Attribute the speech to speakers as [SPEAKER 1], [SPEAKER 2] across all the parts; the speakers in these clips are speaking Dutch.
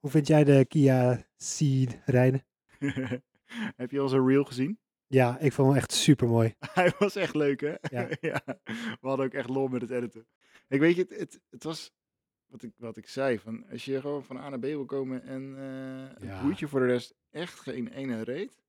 [SPEAKER 1] Hoe vind jij de Kia Ceed rijden?
[SPEAKER 2] Heb je onze reel gezien?
[SPEAKER 1] Ja, ik vond hem echt super mooi.
[SPEAKER 2] Hij was echt leuk, hè?
[SPEAKER 1] Ja.
[SPEAKER 2] We hadden ook echt lol met het editen. Ik weet je, het, het, het was wat ik, wat ik zei. Van, als je gewoon van A naar B wil komen en eh
[SPEAKER 1] Ja.
[SPEAKER 2] het boeitje voor de rest echt geen ene reet.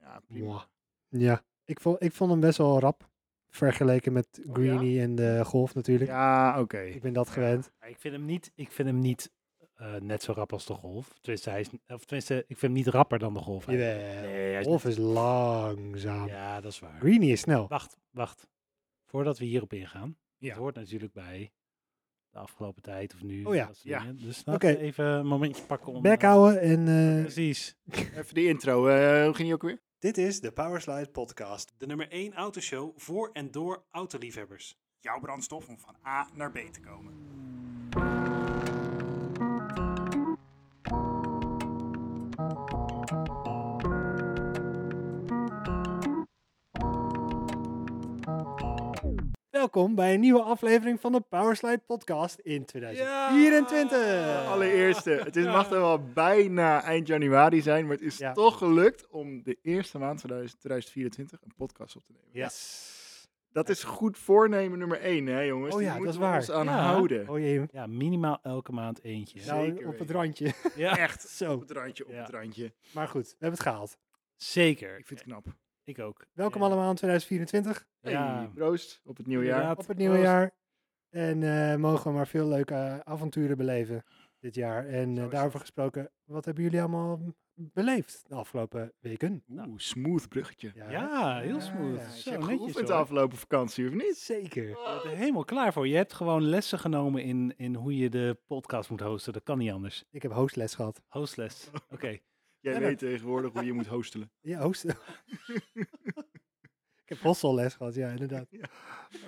[SPEAKER 2] Ja, prima.
[SPEAKER 1] Mwah. Ja, ik vond, ik vond hem best wel rap. Vergeleken met
[SPEAKER 2] ja?
[SPEAKER 1] Greenie en de Golf natuurlijk.
[SPEAKER 2] Ja, oké.
[SPEAKER 1] Ik ben dat gewend.
[SPEAKER 3] Maar Ik vind hem niet, ik vind hem niet eh, net zo rap als de golf. Tenminste, hij is, of tenminste, ik vind hem niet rapper dan de golf. eigenlijk.
[SPEAKER 1] Jawel.
[SPEAKER 3] Nee, hij is
[SPEAKER 1] Golf is langzaam.
[SPEAKER 3] Ja, dat is waar.
[SPEAKER 1] Greenie is snel.
[SPEAKER 3] Wacht, wacht. Voordat we hierop ingaan.
[SPEAKER 2] Ja.
[SPEAKER 3] Het hoort natuurlijk bij de afgelopen tijd of nu.
[SPEAKER 1] Oh ja,
[SPEAKER 3] dat soort
[SPEAKER 2] ja.
[SPEAKER 3] dingen. Dus laten
[SPEAKER 1] Oké.
[SPEAKER 3] we even een momentje pakken om...
[SPEAKER 1] Bek
[SPEAKER 3] eh,
[SPEAKER 1] houden en... eh,
[SPEAKER 3] Precies.
[SPEAKER 2] Even die intro. eh, hoe ging die ook weer?
[SPEAKER 1] Dit is de Powerslide Podcast.
[SPEAKER 3] De nummer 1 autoshow voor en door autoliefhebbers.
[SPEAKER 2] Jouw brandstof om van A naar B te komen.
[SPEAKER 1] Welkom bij een nieuwe aflevering van de Powerslide Podcast in 2024.
[SPEAKER 3] Ja!
[SPEAKER 2] Allereerste, het is, mag er wel bijna eind januari zijn, maar het is
[SPEAKER 1] Ja.
[SPEAKER 2] toch gelukt om de eerste maand van 2024 een podcast op te nemen.
[SPEAKER 1] Yes.
[SPEAKER 2] Dat is goed voornemen nummer één, hè jongens?
[SPEAKER 1] Oh
[SPEAKER 2] Die
[SPEAKER 1] ja, dat
[SPEAKER 2] moeten
[SPEAKER 1] is waar.
[SPEAKER 2] we ons aan
[SPEAKER 3] Ja.
[SPEAKER 2] houden.
[SPEAKER 1] Oh jee.
[SPEAKER 3] Ja, minimaal elke maand eentje.
[SPEAKER 2] Ja.
[SPEAKER 1] Nou,
[SPEAKER 2] Zeker
[SPEAKER 1] op het
[SPEAKER 2] weten.
[SPEAKER 1] randje.
[SPEAKER 3] Ja,
[SPEAKER 2] Echt, op
[SPEAKER 1] Zo.
[SPEAKER 2] het randje, op
[SPEAKER 3] Ja.
[SPEAKER 2] het randje.
[SPEAKER 1] Maar goed, we hebben het gehaald.
[SPEAKER 3] zeker.
[SPEAKER 2] Ik vind het knap.
[SPEAKER 3] Ik ook.
[SPEAKER 1] Welkom
[SPEAKER 3] Ja.
[SPEAKER 1] allemaal in 2024,
[SPEAKER 2] Hey, proost op het nieuwe jaar.
[SPEAKER 3] Inderdaad.
[SPEAKER 1] op het nieuwe
[SPEAKER 3] Proost.
[SPEAKER 1] jaar. En eh, mogen we maar veel leuke eh, avonturen beleven dit jaar. En eh,
[SPEAKER 2] Zo is
[SPEAKER 1] daarover gesproken, wat hebben jullie allemaal beleefd de afgelopen weken?
[SPEAKER 2] Oeh, smooth bruggetje.
[SPEAKER 1] Nou. Ja,
[SPEAKER 3] Ja, heel smooth.
[SPEAKER 1] Ja,
[SPEAKER 2] je
[SPEAKER 3] Zo,
[SPEAKER 2] hebt
[SPEAKER 3] netjes
[SPEAKER 2] geoefend de
[SPEAKER 3] hoor.
[SPEAKER 2] afgelopen vakantie, of niet?
[SPEAKER 1] Zeker.
[SPEAKER 3] Je bent er helemaal klaar voor. Je hebt gewoon lessen genomen in, in hoe je de podcast moet hosten. Dat kan niet anders.
[SPEAKER 1] Ik heb hostles gehad.
[SPEAKER 3] Hostles. Oké.
[SPEAKER 2] Jij
[SPEAKER 1] Ja,
[SPEAKER 2] weet
[SPEAKER 1] dat-
[SPEAKER 2] tegenwoordig hoe je moet hostelen.
[SPEAKER 1] Ja, host. ik heb hostelles gehad, ja, inderdaad.
[SPEAKER 2] Ja.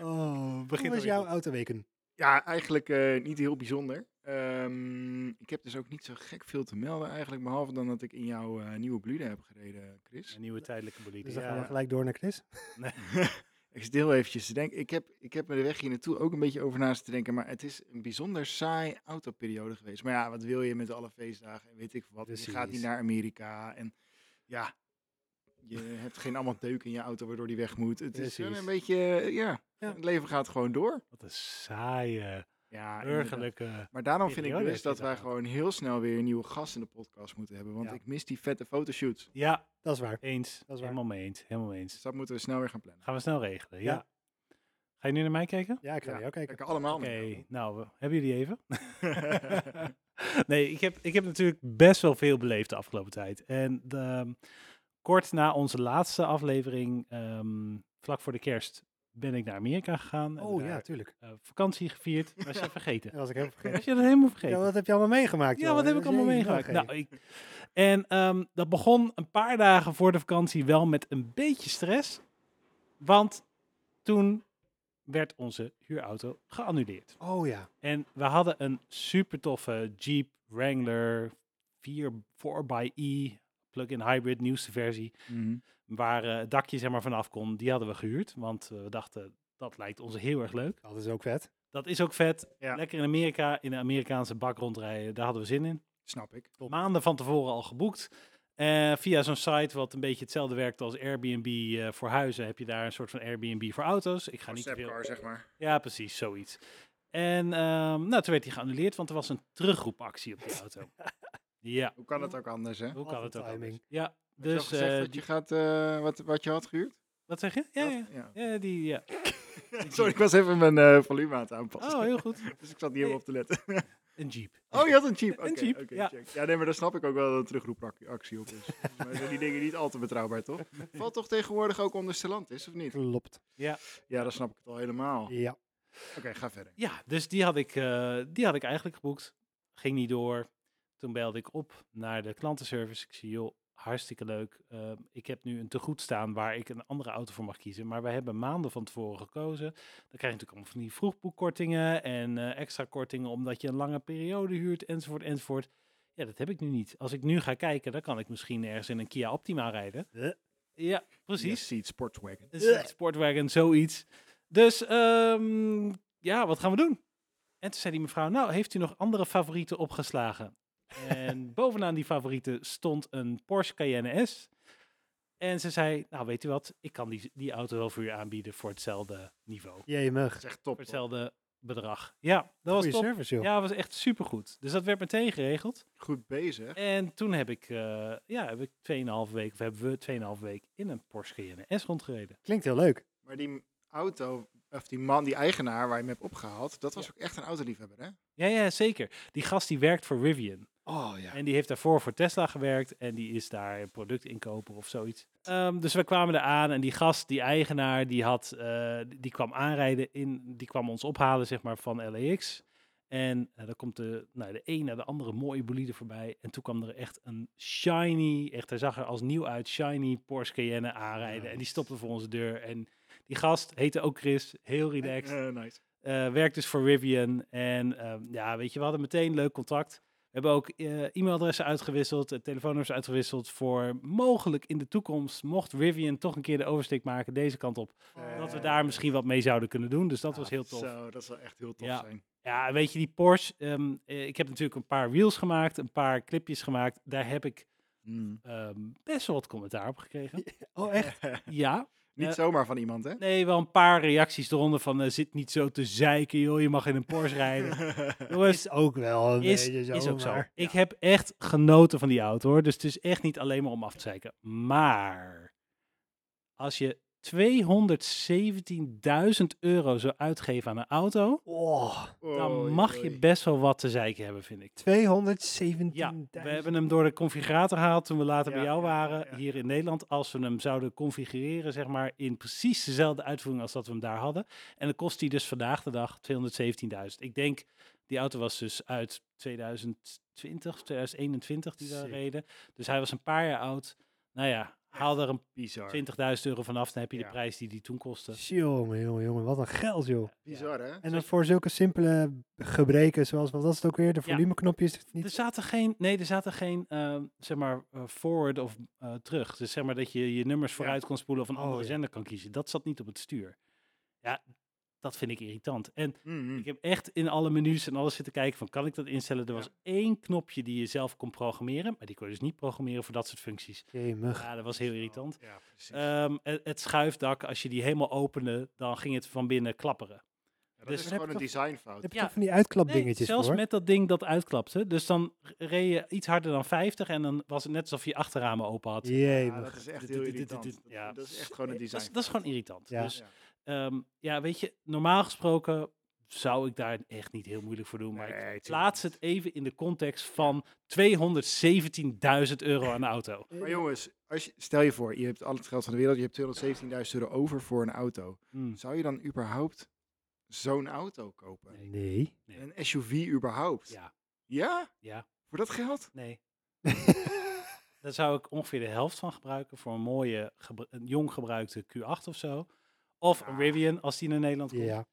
[SPEAKER 1] Oh, Hoe
[SPEAKER 3] begint
[SPEAKER 1] was
[SPEAKER 3] alweer
[SPEAKER 1] jouw
[SPEAKER 3] goed.
[SPEAKER 1] autoweken?
[SPEAKER 2] Ja, eigenlijk eh, niet heel bijzonder. Ehm, ik heb dus ook niet zo gek veel te melden eigenlijk, behalve dan dat ik in jouw eh, nieuwe Blude heb gereden, Chris.
[SPEAKER 3] Een nieuwe tijdelijke bolide.
[SPEAKER 1] Dus dan
[SPEAKER 3] Ja.
[SPEAKER 1] gaan we gelijk door naar Chris.
[SPEAKER 2] ik zit heel eventjes te denken. Ik heb, ik heb me de weg hier naartoe ook een beetje over naast te denken. Maar het is een bijzonder saai autoperiode geweest. Maar ja, wat wil je met alle feestdagen en weet ik wat. Je gaat niet
[SPEAKER 3] Precies.
[SPEAKER 2] naar Amerika. En ja, je hebt geen allemaal deuk in je auto waardoor die weg moet. Het is gewoon een beetje, eh, ja,
[SPEAKER 1] Ja.
[SPEAKER 2] het leven gaat gewoon door.
[SPEAKER 3] Wat een saaie,
[SPEAKER 2] Ja, inderdaad.
[SPEAKER 3] burgerlijke...
[SPEAKER 2] Maar daarom vind ik
[SPEAKER 3] Periode
[SPEAKER 2] dus
[SPEAKER 3] heeft hij
[SPEAKER 2] dat wij
[SPEAKER 3] daar gehad.
[SPEAKER 2] gewoon heel snel weer een nieuwe gast in de podcast moeten hebben. Want
[SPEAKER 1] Ja.
[SPEAKER 2] ik mis die vette fotoshoots.
[SPEAKER 3] Ja,
[SPEAKER 1] Dat is waar.
[SPEAKER 3] eens.
[SPEAKER 1] waar.
[SPEAKER 3] Helemaal mee eens. Helemaal mee
[SPEAKER 2] Dus
[SPEAKER 3] eens.
[SPEAKER 2] dat moeten we snel weer gaan plannen.
[SPEAKER 3] Gaan we snel regelen.
[SPEAKER 1] Ja.
[SPEAKER 3] Ja. Ga je nu naar mij kijken?
[SPEAKER 1] Ja, ik ga
[SPEAKER 2] Ja,
[SPEAKER 1] naar jou kijken.
[SPEAKER 2] Lekker allemaal.
[SPEAKER 3] Oké.
[SPEAKER 2] mee.
[SPEAKER 3] Nou, we- hebben jullie even? nee, ik heb, ik heb natuurlijk best wel veel beleefd de afgelopen tijd. En ehm, kort na onze laatste aflevering, ehm, vlak voor de kerst, ben ik naar Amerika gegaan. en
[SPEAKER 1] Oh ja,
[SPEAKER 3] daar,
[SPEAKER 1] tuurlijk.
[SPEAKER 3] eh, vakantie gevierd. Was je vergeten?
[SPEAKER 1] Dat was ik heel vergeten.
[SPEAKER 3] Was je dat helemaal vergeten?
[SPEAKER 1] Ja, wat heb je allemaal meegemaakt?
[SPEAKER 3] Ja,
[SPEAKER 1] joh?
[SPEAKER 3] wat heb ik
[SPEAKER 1] Dat
[SPEAKER 3] allemaal
[SPEAKER 1] is je-
[SPEAKER 3] meegemaakt?
[SPEAKER 1] oké.
[SPEAKER 3] Nou, ik, en ehm, dat begon een paar dagen voor de vakantie wel met een beetje stress. Want toen werd onze huurauto geannuleerd.
[SPEAKER 1] Oh ja.
[SPEAKER 3] En we hadden een super toffe Jeep Wrangler 4, 4xE E, plug-in hybrid nieuwste versie.
[SPEAKER 2] Mhm.
[SPEAKER 3] Waar eh, het dakje zeg maar vanaf kon, die hadden we gehuurd. Want eh, we dachten, dat lijkt ons heel erg leuk.
[SPEAKER 1] Dat is ook vet.
[SPEAKER 3] Dat is ook vet.
[SPEAKER 2] Ja.
[SPEAKER 3] Lekker in Amerika, in de Amerikaanse bak rondrijden. Daar hadden we zin in.
[SPEAKER 2] Snap ik.
[SPEAKER 3] maanden van tevoren al geboekt. Eh, via zo'n site wat een beetje hetzelfde werkt als Airbnb eh, voor huizen, heb je daar een soort van Airbnb voor auto's. Ik ga niet te veel.
[SPEAKER 2] Stepcar, zeg maar.
[SPEAKER 3] Ja, precies, zoiets. En ehm, nou, toen werd die geannuleerd, want er was een terugroepactie op die auto. ja,
[SPEAKER 2] Hoe kan het ook anders, hè?
[SPEAKER 3] hoe kan het ook?
[SPEAKER 1] timing.
[SPEAKER 3] anders? Ja,
[SPEAKER 2] Dus
[SPEAKER 3] dus
[SPEAKER 2] gezegd
[SPEAKER 3] eh,
[SPEAKER 2] dat
[SPEAKER 3] die-
[SPEAKER 2] je gaat, eh, wat, wat je had gehuurd?
[SPEAKER 3] wat zeg je? Ja,
[SPEAKER 2] Dat-
[SPEAKER 3] ja, ja, die, ja.
[SPEAKER 2] Sorry, ik was even mijn eh, volume aan het aanpassen.
[SPEAKER 3] Oh, heel goed.
[SPEAKER 2] Dus ik zat niet helemaal op te letten.
[SPEAKER 3] Een Jeep.
[SPEAKER 2] Oh, je had een Jeep.
[SPEAKER 3] Een
[SPEAKER 2] Oké,
[SPEAKER 3] Jeep,
[SPEAKER 2] oké,
[SPEAKER 3] ja.
[SPEAKER 2] check. ja, nee, maar daar snap ik ook wel dat een terugroepactie op is. Volgens mij zijn die dingen niet al te betrouwbaar, toch? Valt toch tegenwoordig ook onder Stellantis, of niet?
[SPEAKER 1] Klopt.
[SPEAKER 2] Ja, dan snap ik het al helemaal.
[SPEAKER 3] Oh.
[SPEAKER 2] Oké,
[SPEAKER 1] Ja.
[SPEAKER 2] ga verder.
[SPEAKER 3] Ja, dus die had, ik, eh, die had ik eigenlijk geboekt. Ging niet door. Toen belde ik op naar de klantenservice. Ik zie, joh, hartstikke leuk. Eh, ik heb nu een tegoed staan waar ik een andere auto voor mag kiezen. Maar wij hebben maanden van tevoren gekozen. Dan krijg je natuurlijk allemaal van die vroegboekkortingen en eh, extra kortingen omdat je een lange periode huurt, enzovoort, enzovoort. Ja, dat heb ik nu niet. Als ik nu ga kijken, dan kan ik misschien ergens in een Kia Optima rijden.
[SPEAKER 1] Eh.
[SPEAKER 3] Ja, precies. Dus
[SPEAKER 2] Je ziet Sportswagon.
[SPEAKER 3] Een soort sportwagen, zoiets. Dus ehm, ja, wat gaan we doen? En toen zei die mevrouw, nou, heeft u nog andere favorieten opgeslagen? En bovenaan die favorieten stond een Porsche Cayenne S. En ze zei, nou weet u wat, ik kan die, die auto wel voor u aanbieden voor hetzelfde niveau.
[SPEAKER 1] Jee, mug.
[SPEAKER 2] Dat is echt top.
[SPEAKER 3] Voor
[SPEAKER 2] hoor.
[SPEAKER 3] hetzelfde bedrag. Ja, dat was
[SPEAKER 1] Goeie
[SPEAKER 3] top.
[SPEAKER 1] service, joh.
[SPEAKER 3] Ja, was echt supergoed. Dus dat werd meteen geregeld.
[SPEAKER 2] Goed bezig.
[SPEAKER 3] En toen heb ik, eh ja, heb ik 2,5 week, of hebben we 2,5 week in een Porsche Cayenne S rondgereden.
[SPEAKER 1] Klinkt heel leuk.
[SPEAKER 2] Maar die auto, of die man, die eigenaar waar je hem hebt opgehaald, dat was ook echt een autoliefhebber, hè?
[SPEAKER 3] Ja, ja, zeker. Die gast die werkt voor Rivian.
[SPEAKER 2] Oh ja.
[SPEAKER 3] En die heeft daarvoor voor Tesla gewerkt. En die is daar een product inkoper of zoiets. Ehm, dus we kwamen er aan en die gast, die eigenaar, die, had, eh, die kwam aanrijden. In, die kwam ons ophalen, zeg maar, van LAX. En eh, dan komt de, nou, de een naar de andere mooie bolide voorbij. En toen kwam er echt een shiny, echt hij zag er als nieuw uit, shiny Porsche Cayenne aanrijden. En die stopte voor onze deur. En die gast heette ook Chris, heel relaxed.
[SPEAKER 2] nice.
[SPEAKER 3] Eh, werkt dus voor Rivian. En ehm, ja, weet je, we hadden meteen leuk contact. We hebben ook eh, e-mailadressen uitgewisseld, eh, telefoonnummers uitgewisseld voor mogelijk in de toekomst, mocht Rivian toch een keer de oversteek maken deze kant op, dat we daar misschien wat mee zouden kunnen doen. Dus dat was heel tof.
[SPEAKER 2] Eh, ah, Zo, dat zou echt heel tof
[SPEAKER 3] Ja.
[SPEAKER 2] zijn.
[SPEAKER 3] Ja, weet je, die Porsche, ehm, eh, ik heb natuurlijk een paar reels gemaakt, een paar clipjes gemaakt. Daar heb ik
[SPEAKER 2] Mm.
[SPEAKER 3] ehm, best wel wat commentaar op gekregen.
[SPEAKER 1] Oh, echt?
[SPEAKER 3] Ja,
[SPEAKER 2] Niet
[SPEAKER 3] Ja.
[SPEAKER 2] zomaar van iemand, hè?
[SPEAKER 3] nee, wel een paar reacties eronder van eh, zit niet zo te zeiken, joh, je mag in een Porsche rijden. Jongens,
[SPEAKER 1] Is ook wel een
[SPEAKER 3] is,
[SPEAKER 1] beetje zo.
[SPEAKER 3] is ook zo.
[SPEAKER 1] maar-
[SPEAKER 3] Ik heb echt genoten van die auto hoor. Dus het is echt niet alleen maar om af te zeiken. Maar als je 217.000 euro zou uitgeven aan een auto,
[SPEAKER 1] Oh,
[SPEAKER 2] Oei,
[SPEAKER 3] dan mag je
[SPEAKER 2] oei.
[SPEAKER 3] best wel wat te zeiken hebben, vind ik.
[SPEAKER 1] 217.
[SPEAKER 3] Ja, we hebben hem door de configurator gehaald toen we later
[SPEAKER 2] Ja,
[SPEAKER 3] bij jou
[SPEAKER 2] ja, ja,
[SPEAKER 3] waren,
[SPEAKER 2] ja.
[SPEAKER 3] hier in Nederland. Als we hem zouden configureren, zeg maar, in precies dezelfde uitvoering als dat we hem daar hadden. En dan kost hij dus vandaag de dag 217.000. Ik denk, die auto was dus uit 2020 of 2021 die daar
[SPEAKER 1] Sick.
[SPEAKER 3] reden. Dus hij was een paar jaar oud. Nou ja, haal er een
[SPEAKER 2] Bizar.
[SPEAKER 3] 20.000 euro vanaf, dan heb je
[SPEAKER 2] Ja.
[SPEAKER 3] de prijs die die toen kostte.
[SPEAKER 1] Jongen, jongen, jongen, wat een geld, joh.
[SPEAKER 2] Bizar, hè?
[SPEAKER 1] En dan voor zulke simpele gebreken, zoals wat was het ook weer? De
[SPEAKER 3] Ja. Dus-
[SPEAKER 1] volumeknopjes. het
[SPEAKER 3] Er
[SPEAKER 1] Niet...
[SPEAKER 3] zaten geen, nee, er zaten geen, ehm, zeg maar, eh, forward of eh, terug. Dus zeg maar dat je je nummers vooruit kon spoelen of een
[SPEAKER 1] Oh,
[SPEAKER 3] andere
[SPEAKER 1] ja.
[SPEAKER 3] zender kan kiezen. Dat zat niet op het stuur. Ja, dat vind ik irritant. En
[SPEAKER 2] Mm, mm.
[SPEAKER 3] ik heb echt in alle menus en alles zitten kijken van, kan ik dat instellen? Er
[SPEAKER 2] Ja.
[SPEAKER 3] was één knopje die je zelf kon programmeren, maar die kon je dus niet programmeren voor dat soort functies.
[SPEAKER 1] Jee, mug.
[SPEAKER 3] Ja, dat was heel irritant.
[SPEAKER 2] Ja, precies.
[SPEAKER 3] Ehm, het, het schuifdak, als je die helemaal opende, dan ging het van binnen klapperen.
[SPEAKER 2] Ja, dat
[SPEAKER 3] dus-
[SPEAKER 2] is
[SPEAKER 1] Dan heb
[SPEAKER 2] gewoon
[SPEAKER 1] je
[SPEAKER 2] een designfout.
[SPEAKER 1] Heb je
[SPEAKER 3] Ja.
[SPEAKER 1] toch van die uitklapdingetjes
[SPEAKER 3] Nee, zelfs
[SPEAKER 1] voor?
[SPEAKER 3] met dat ding dat uitklapte. Dus dan r- reed je iets harder dan 50 en dan was het net alsof je achterramen open had.
[SPEAKER 1] Jee,
[SPEAKER 2] Ja,
[SPEAKER 1] mug.
[SPEAKER 2] dat is echt
[SPEAKER 3] Dit-
[SPEAKER 2] heel
[SPEAKER 3] dit- dit-
[SPEAKER 2] irritant.
[SPEAKER 3] dit-
[SPEAKER 2] Dat,
[SPEAKER 3] dit- ja.
[SPEAKER 2] dat is echt gewoon een
[SPEAKER 3] Nee, dat, is,
[SPEAKER 2] design.
[SPEAKER 3] dat is gewoon irritant.
[SPEAKER 1] Ja.
[SPEAKER 3] Dus ehm, ja, weet je, normaal gesproken zou ik daar echt niet heel moeilijk voor doen. Maar
[SPEAKER 2] Nee,
[SPEAKER 3] ik
[SPEAKER 2] tuurlijk
[SPEAKER 3] plaats
[SPEAKER 2] niet.
[SPEAKER 3] het even in de context van 217.000 euro aan de auto.
[SPEAKER 1] Eh,
[SPEAKER 2] Maar jongens, als je, stel je voor, je hebt al het geld van de wereld, je hebt 217.000 euro over voor een auto.
[SPEAKER 3] Hmm.
[SPEAKER 2] Zou je dan überhaupt zo'n auto kopen?
[SPEAKER 3] Nee.
[SPEAKER 1] Nee.
[SPEAKER 3] Nee.
[SPEAKER 2] Een SUV überhaupt?
[SPEAKER 3] Ja,
[SPEAKER 2] Ja?
[SPEAKER 3] Ja.
[SPEAKER 2] Voor dat geld?
[SPEAKER 3] nee. Daar zou ik ongeveer de helft van gebruiken voor een mooie, gebru- een jong gebruikte Q8 of zo. Of een
[SPEAKER 2] Ja.
[SPEAKER 3] Rivian, als die naar Nederland komt.
[SPEAKER 1] ja,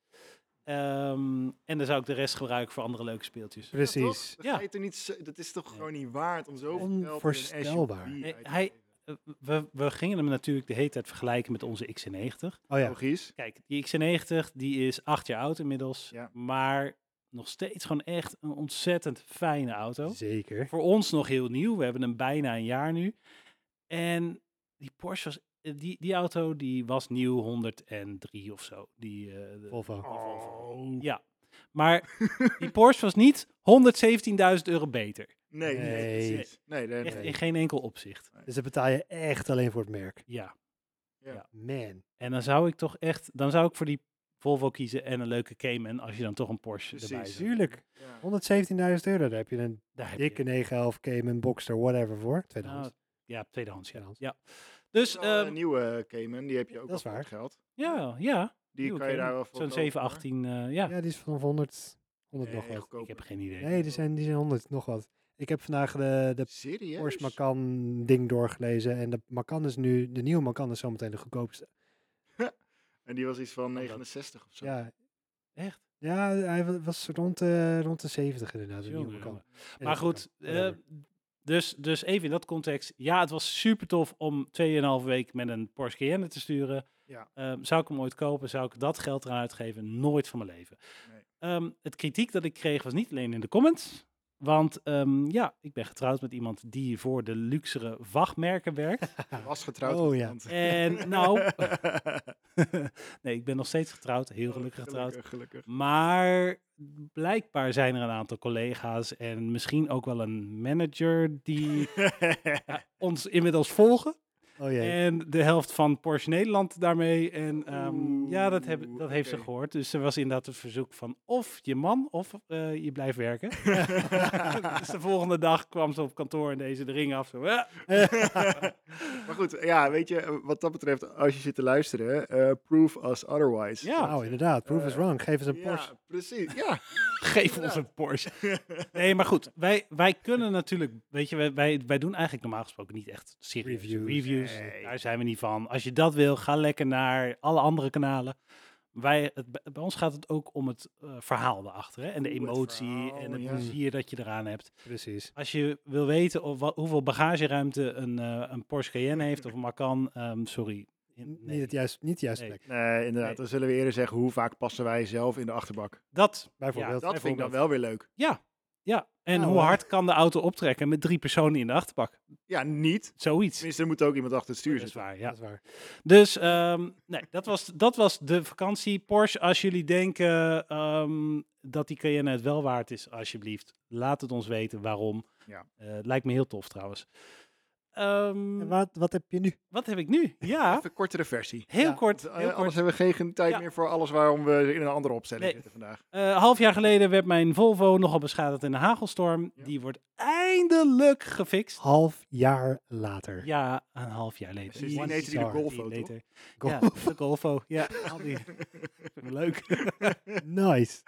[SPEAKER 3] Ehm, en dan zou ik de rest gebruiken voor andere leuke speeltjes.
[SPEAKER 1] precies.
[SPEAKER 2] Ja, toch? Dan
[SPEAKER 3] Ja.
[SPEAKER 2] ga je toch niet, zo- dat is toch
[SPEAKER 3] Nee.
[SPEAKER 2] gewoon niet waard om zoveel geld in een
[SPEAKER 1] Onvoorstelbaar.
[SPEAKER 2] SUV
[SPEAKER 3] Nee,
[SPEAKER 2] uit te
[SPEAKER 3] hij-
[SPEAKER 2] geven?
[SPEAKER 3] Eh, We, we gingen hem natuurlijk de hele tijd vergelijken met onze XC90.
[SPEAKER 1] Oh ja.
[SPEAKER 2] Logisch.
[SPEAKER 3] Kijk, die XC90 die is acht jaar oud inmiddels.
[SPEAKER 2] Ja.
[SPEAKER 3] Maar nog steeds gewoon echt een ontzettend fijne auto.
[SPEAKER 1] Zeker.
[SPEAKER 3] Voor ons nog heel nieuw. We hebben hem bijna een jaar nu. En die Porsche was... eh, Die, die auto die was nieuw 103 of zo. Die, eh, de-
[SPEAKER 1] Volvo.
[SPEAKER 2] Oh.
[SPEAKER 3] Ja. Maar die Porsche was niet 117.000 euro beter.
[SPEAKER 2] Nee, nee,
[SPEAKER 1] Nee.
[SPEAKER 2] precies. nee, nee,
[SPEAKER 3] Echt
[SPEAKER 2] nee.
[SPEAKER 3] in geen enkel opzicht.
[SPEAKER 1] Dus dat betaal je echt alleen voor het merk.
[SPEAKER 3] Ja.
[SPEAKER 1] Man.
[SPEAKER 3] En dan zou ik toch echt, dan zou ik voor die Volvo kiezen en een leuke Cayman als je dan toch een Porsche erbij
[SPEAKER 2] Precies.
[SPEAKER 3] zet.
[SPEAKER 1] Tuurlijk. 117.000
[SPEAKER 2] Ja.
[SPEAKER 1] euro, daar heb je een
[SPEAKER 3] Daar heb je-
[SPEAKER 1] dikke 911 Cayman Boxster, whatever voor.
[SPEAKER 3] Nou,
[SPEAKER 1] Tweedehands.
[SPEAKER 3] ja, tweedehands. Ja.
[SPEAKER 1] Tweedehands.
[SPEAKER 3] ja. Dus
[SPEAKER 2] Terwijl
[SPEAKER 3] ehm,
[SPEAKER 2] een eh, nieuwe Cayman, die heb je
[SPEAKER 1] Ja,
[SPEAKER 2] ook
[SPEAKER 1] dat
[SPEAKER 2] al
[SPEAKER 1] is
[SPEAKER 2] voor
[SPEAKER 1] waar.
[SPEAKER 2] het geld.
[SPEAKER 3] ja, ja.
[SPEAKER 2] Nou, Die
[SPEAKER 3] nieuwe
[SPEAKER 2] kan je daar
[SPEAKER 3] Cayman.
[SPEAKER 2] wel voor
[SPEAKER 3] Zo'n
[SPEAKER 2] kopen, hoor.
[SPEAKER 3] 718, eh, ja.
[SPEAKER 1] Ja, die is van 100, 100 nog
[SPEAKER 2] Nee,
[SPEAKER 1] wat.
[SPEAKER 3] Ik
[SPEAKER 2] goedkoper.
[SPEAKER 3] heb geen idee.
[SPEAKER 1] Nee, die zijn, die zijn 100 nog wat. Ik heb vandaag de, de
[SPEAKER 2] Serieus?
[SPEAKER 1] Porsche Macan ding doorgelezen. En de Macan is nu, de nieuwe Macan is zometeen de goedkoopste.
[SPEAKER 2] En die was iets van
[SPEAKER 3] dat-
[SPEAKER 2] 69 of zo.
[SPEAKER 1] Ja,
[SPEAKER 3] Echt?
[SPEAKER 1] ja hij wa- was rond, eh, rond de 70 inderdaad, de nieuwe
[SPEAKER 3] Jongen,
[SPEAKER 1] Macan.
[SPEAKER 3] jongen. Maar goed, eh, dus, dus even in dat context. Ja, het was super tof om 2,5 week met een Porsche Cayenne te sturen.
[SPEAKER 2] Ja.
[SPEAKER 3] Ehm, zou ik hem ooit kopen? Zou ik dat geld eraan uitgeven? Nooit van mijn leven.
[SPEAKER 2] Nee.
[SPEAKER 3] Ehm, het kritiek dat ik kreeg was niet alleen in de comments. Want ehm, ja, ik ben getrouwd met iemand die voor de luxere wachtmerken werkt.
[SPEAKER 2] Was getrouwd.
[SPEAKER 1] Oh,
[SPEAKER 2] met
[SPEAKER 1] ja.
[SPEAKER 2] iemand.
[SPEAKER 3] En nou, nee, ik ben nog steeds getrouwd, heel gelukkig getrouwd.
[SPEAKER 2] Oh, Gelukkig, gelukkig.
[SPEAKER 3] Maar blijkbaar zijn er een aantal collega's en misschien ook wel een manager die ja, ons inmiddels volgen.
[SPEAKER 1] Oh jee.
[SPEAKER 3] En de helft van Porsche Nederland daarmee. En ehm, ja, dat, heb,
[SPEAKER 2] Oeh,
[SPEAKER 3] dat heeft ze
[SPEAKER 2] oké.
[SPEAKER 3] gehoord. Dus er was inderdaad het verzoek van of je man of eh, je blijft werken. dus de volgende dag kwam ze op kantoor en deze de ring af. Zo, "Ah,
[SPEAKER 2] maar goed, ja, weet je, eh, wat dat betreft, als je zit te luisteren, eh prove us otherwise.
[SPEAKER 3] ja,
[SPEAKER 1] Nou, inderdaad. Proof is
[SPEAKER 2] Eh,
[SPEAKER 1] wrong. Geef eens een
[SPEAKER 2] Ja,
[SPEAKER 1] Porsche.
[SPEAKER 2] precies. Ja.
[SPEAKER 3] geef ons een Porsche. Nee, maar goed, wij, wij kunnen natuurlijk, weet je, wij- wij, wij doen eigenlijk normaal gesproken niet echt serieus
[SPEAKER 1] Reviews.
[SPEAKER 3] reviews.
[SPEAKER 2] Nee.
[SPEAKER 3] Daar zijn we niet van. Als je dat wil, ga lekker naar alle andere kanalen. Wij, het, bij- bij ons gaat het ook om het eh, verhaal erachter hè? en de
[SPEAKER 2] Oeh, het
[SPEAKER 3] emotie
[SPEAKER 2] verhaal,
[SPEAKER 3] en het
[SPEAKER 2] ja.
[SPEAKER 3] plezier dat je eraan hebt.
[SPEAKER 1] Precies.
[SPEAKER 3] Als je wil weten of, wat, hoeveel bagageruimte een, eh, een Porsche Cayenne heeft of een Macan, ehm, sorry. In-
[SPEAKER 1] N-
[SPEAKER 3] nee.
[SPEAKER 1] Niet het juist, niet het juiste
[SPEAKER 3] Nee.
[SPEAKER 1] plek.
[SPEAKER 2] Nee, inderdaad.
[SPEAKER 3] Nee.
[SPEAKER 2] Dan zullen we eerder zeggen, hoe vaak passen wij zelf in de achterbak?
[SPEAKER 3] Dat,
[SPEAKER 1] Bijvoorbeeld.
[SPEAKER 2] Dat vind ik dan
[SPEAKER 3] bijvoorbeeld.
[SPEAKER 2] wel weer leuk.
[SPEAKER 3] ja. En
[SPEAKER 1] Nou,
[SPEAKER 3] hoe
[SPEAKER 1] eh.
[SPEAKER 3] hard kan de auto optrekken met drie personen in de achterbak?
[SPEAKER 2] Ja, niet.
[SPEAKER 3] Zoiets.
[SPEAKER 2] Tenminste, er moet ook iemand achter het stuur
[SPEAKER 3] Oh, Dat is
[SPEAKER 2] zitten.
[SPEAKER 3] waar, ja.
[SPEAKER 1] Dat is waar.
[SPEAKER 3] Dus ehm, nee, dat was, dat was de vakantie. Porsche, als jullie denken ehm, dat die Cayenne het wel waard is, alsjeblieft, laat het ons weten waarom.
[SPEAKER 2] Ja.
[SPEAKER 3] Eh, het lijkt me heel tof trouwens. Ehm,
[SPEAKER 1] En wat, wat heb je nu?
[SPEAKER 3] wat heb ik nu? Ja,
[SPEAKER 2] Even kortere versie.
[SPEAKER 3] heel
[SPEAKER 1] Ja,
[SPEAKER 3] kort.
[SPEAKER 2] Want, eh,
[SPEAKER 3] Heel kort.
[SPEAKER 2] anders hebben we geen ge- tijd
[SPEAKER 3] Ja.
[SPEAKER 2] meer voor alles waarom we in een andere opstelling
[SPEAKER 3] Nee.
[SPEAKER 2] zitten vandaag.
[SPEAKER 3] Eh, half jaar geleden werd mijn Volvo nogal beschadigd in een hagelstorm.
[SPEAKER 2] Ja.
[SPEAKER 3] Die wordt eindelijk gefixt.
[SPEAKER 1] Half jaar later.
[SPEAKER 3] Ja, een half jaar later.
[SPEAKER 2] Sindsdien
[SPEAKER 3] One
[SPEAKER 2] heette die de
[SPEAKER 3] star
[SPEAKER 2] Golfo,
[SPEAKER 3] later.
[SPEAKER 1] Go-
[SPEAKER 3] Ja, de Golfo. Ja, al die- Vind ik leuk.
[SPEAKER 1] nice.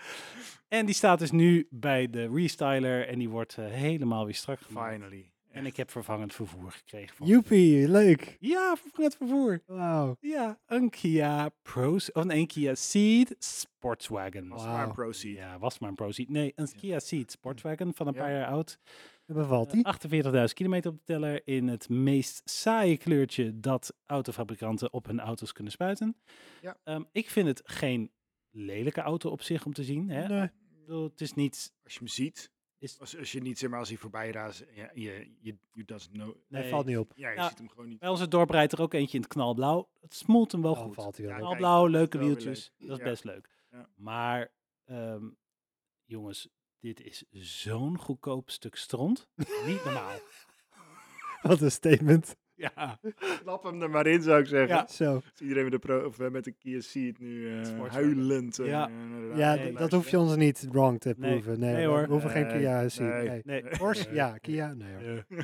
[SPEAKER 3] En die staat dus nu bij de restyler en die wordt eh, helemaal weer strak gemaakt.
[SPEAKER 2] Finally.
[SPEAKER 3] En ik heb vervangend vervoer gekregen. Van.
[SPEAKER 1] Joepie, leuk.
[SPEAKER 3] Ja, vervangend vervoer.
[SPEAKER 1] Wauw.
[SPEAKER 3] Ja, een Kia Pro, of nee, een Kia Ceed Sportswagon.
[SPEAKER 2] Was
[SPEAKER 1] Wauw.
[SPEAKER 2] maar een proceed.
[SPEAKER 3] Ja, was maar een Pro Ceed. Nee, een
[SPEAKER 2] Ja.
[SPEAKER 3] Kia Ceed Sportswagon van een
[SPEAKER 2] Ja.
[SPEAKER 3] paar jaar oud.
[SPEAKER 1] Dat bevalt
[SPEAKER 3] Eh,
[SPEAKER 1] die.
[SPEAKER 3] 48.000 kilometer op de teller in het meest saaie kleurtje dat autofabrikanten op hun auto's kunnen spuiten.
[SPEAKER 2] Ja.
[SPEAKER 3] Ehm, ik vind het geen lelijke auto op zich om te zien. Hè?
[SPEAKER 1] Nee.
[SPEAKER 3] Ik bedoel, Het is niet
[SPEAKER 2] Als je hem ziet,
[SPEAKER 3] Is-
[SPEAKER 2] als, als je niet, zeg maar, als hij voorbij raast, ja, je, je, you doesn't know.
[SPEAKER 1] Hij
[SPEAKER 3] Nee.
[SPEAKER 1] valt niet op.
[SPEAKER 2] Ja, je
[SPEAKER 3] Nou,
[SPEAKER 2] ziet hem gewoon niet.
[SPEAKER 3] Bij onze dorp rijdt er ook eentje in het knalblauw. Het smoelt hem wel
[SPEAKER 1] Dan
[SPEAKER 3] goed.
[SPEAKER 1] Oh, valt hij wel
[SPEAKER 2] Ja,
[SPEAKER 1] op.
[SPEAKER 3] Knalblauw,
[SPEAKER 2] Oh, Kijk, dat is
[SPEAKER 3] leuke
[SPEAKER 2] wel weer
[SPEAKER 3] wieltjes.
[SPEAKER 2] leuk.
[SPEAKER 3] Dat is
[SPEAKER 2] Ja.
[SPEAKER 3] best leuk.
[SPEAKER 2] Ja.
[SPEAKER 3] Maar, ehm, jongens, dit is zo'n goedkoop stuk stront. Niet normaal.
[SPEAKER 1] Wat een statement.
[SPEAKER 3] ja.
[SPEAKER 2] Klap hem er maar in, zou ik zeggen.
[SPEAKER 3] Ja.
[SPEAKER 1] Zo.
[SPEAKER 2] Als iedereen met de, pro, of, eh, met de Kia Ceed nu eh,
[SPEAKER 3] Sportwagen.
[SPEAKER 2] huilend. eh,
[SPEAKER 3] Ja.
[SPEAKER 2] naar de
[SPEAKER 1] Ja,
[SPEAKER 2] radio
[SPEAKER 1] d-
[SPEAKER 3] nee,
[SPEAKER 1] dat
[SPEAKER 2] luistert.
[SPEAKER 1] hoef je ons niet wrong te
[SPEAKER 3] Nee.
[SPEAKER 1] proeven. Nee,
[SPEAKER 3] Nee,
[SPEAKER 1] we
[SPEAKER 3] hoor.
[SPEAKER 1] hoeven geen
[SPEAKER 2] Nee,
[SPEAKER 1] Kia te zien.
[SPEAKER 2] nee.
[SPEAKER 1] Nee.
[SPEAKER 3] Nee.
[SPEAKER 1] Porsche?
[SPEAKER 2] Nee.
[SPEAKER 1] Ja, Kia? Nee hoor.
[SPEAKER 3] Eh,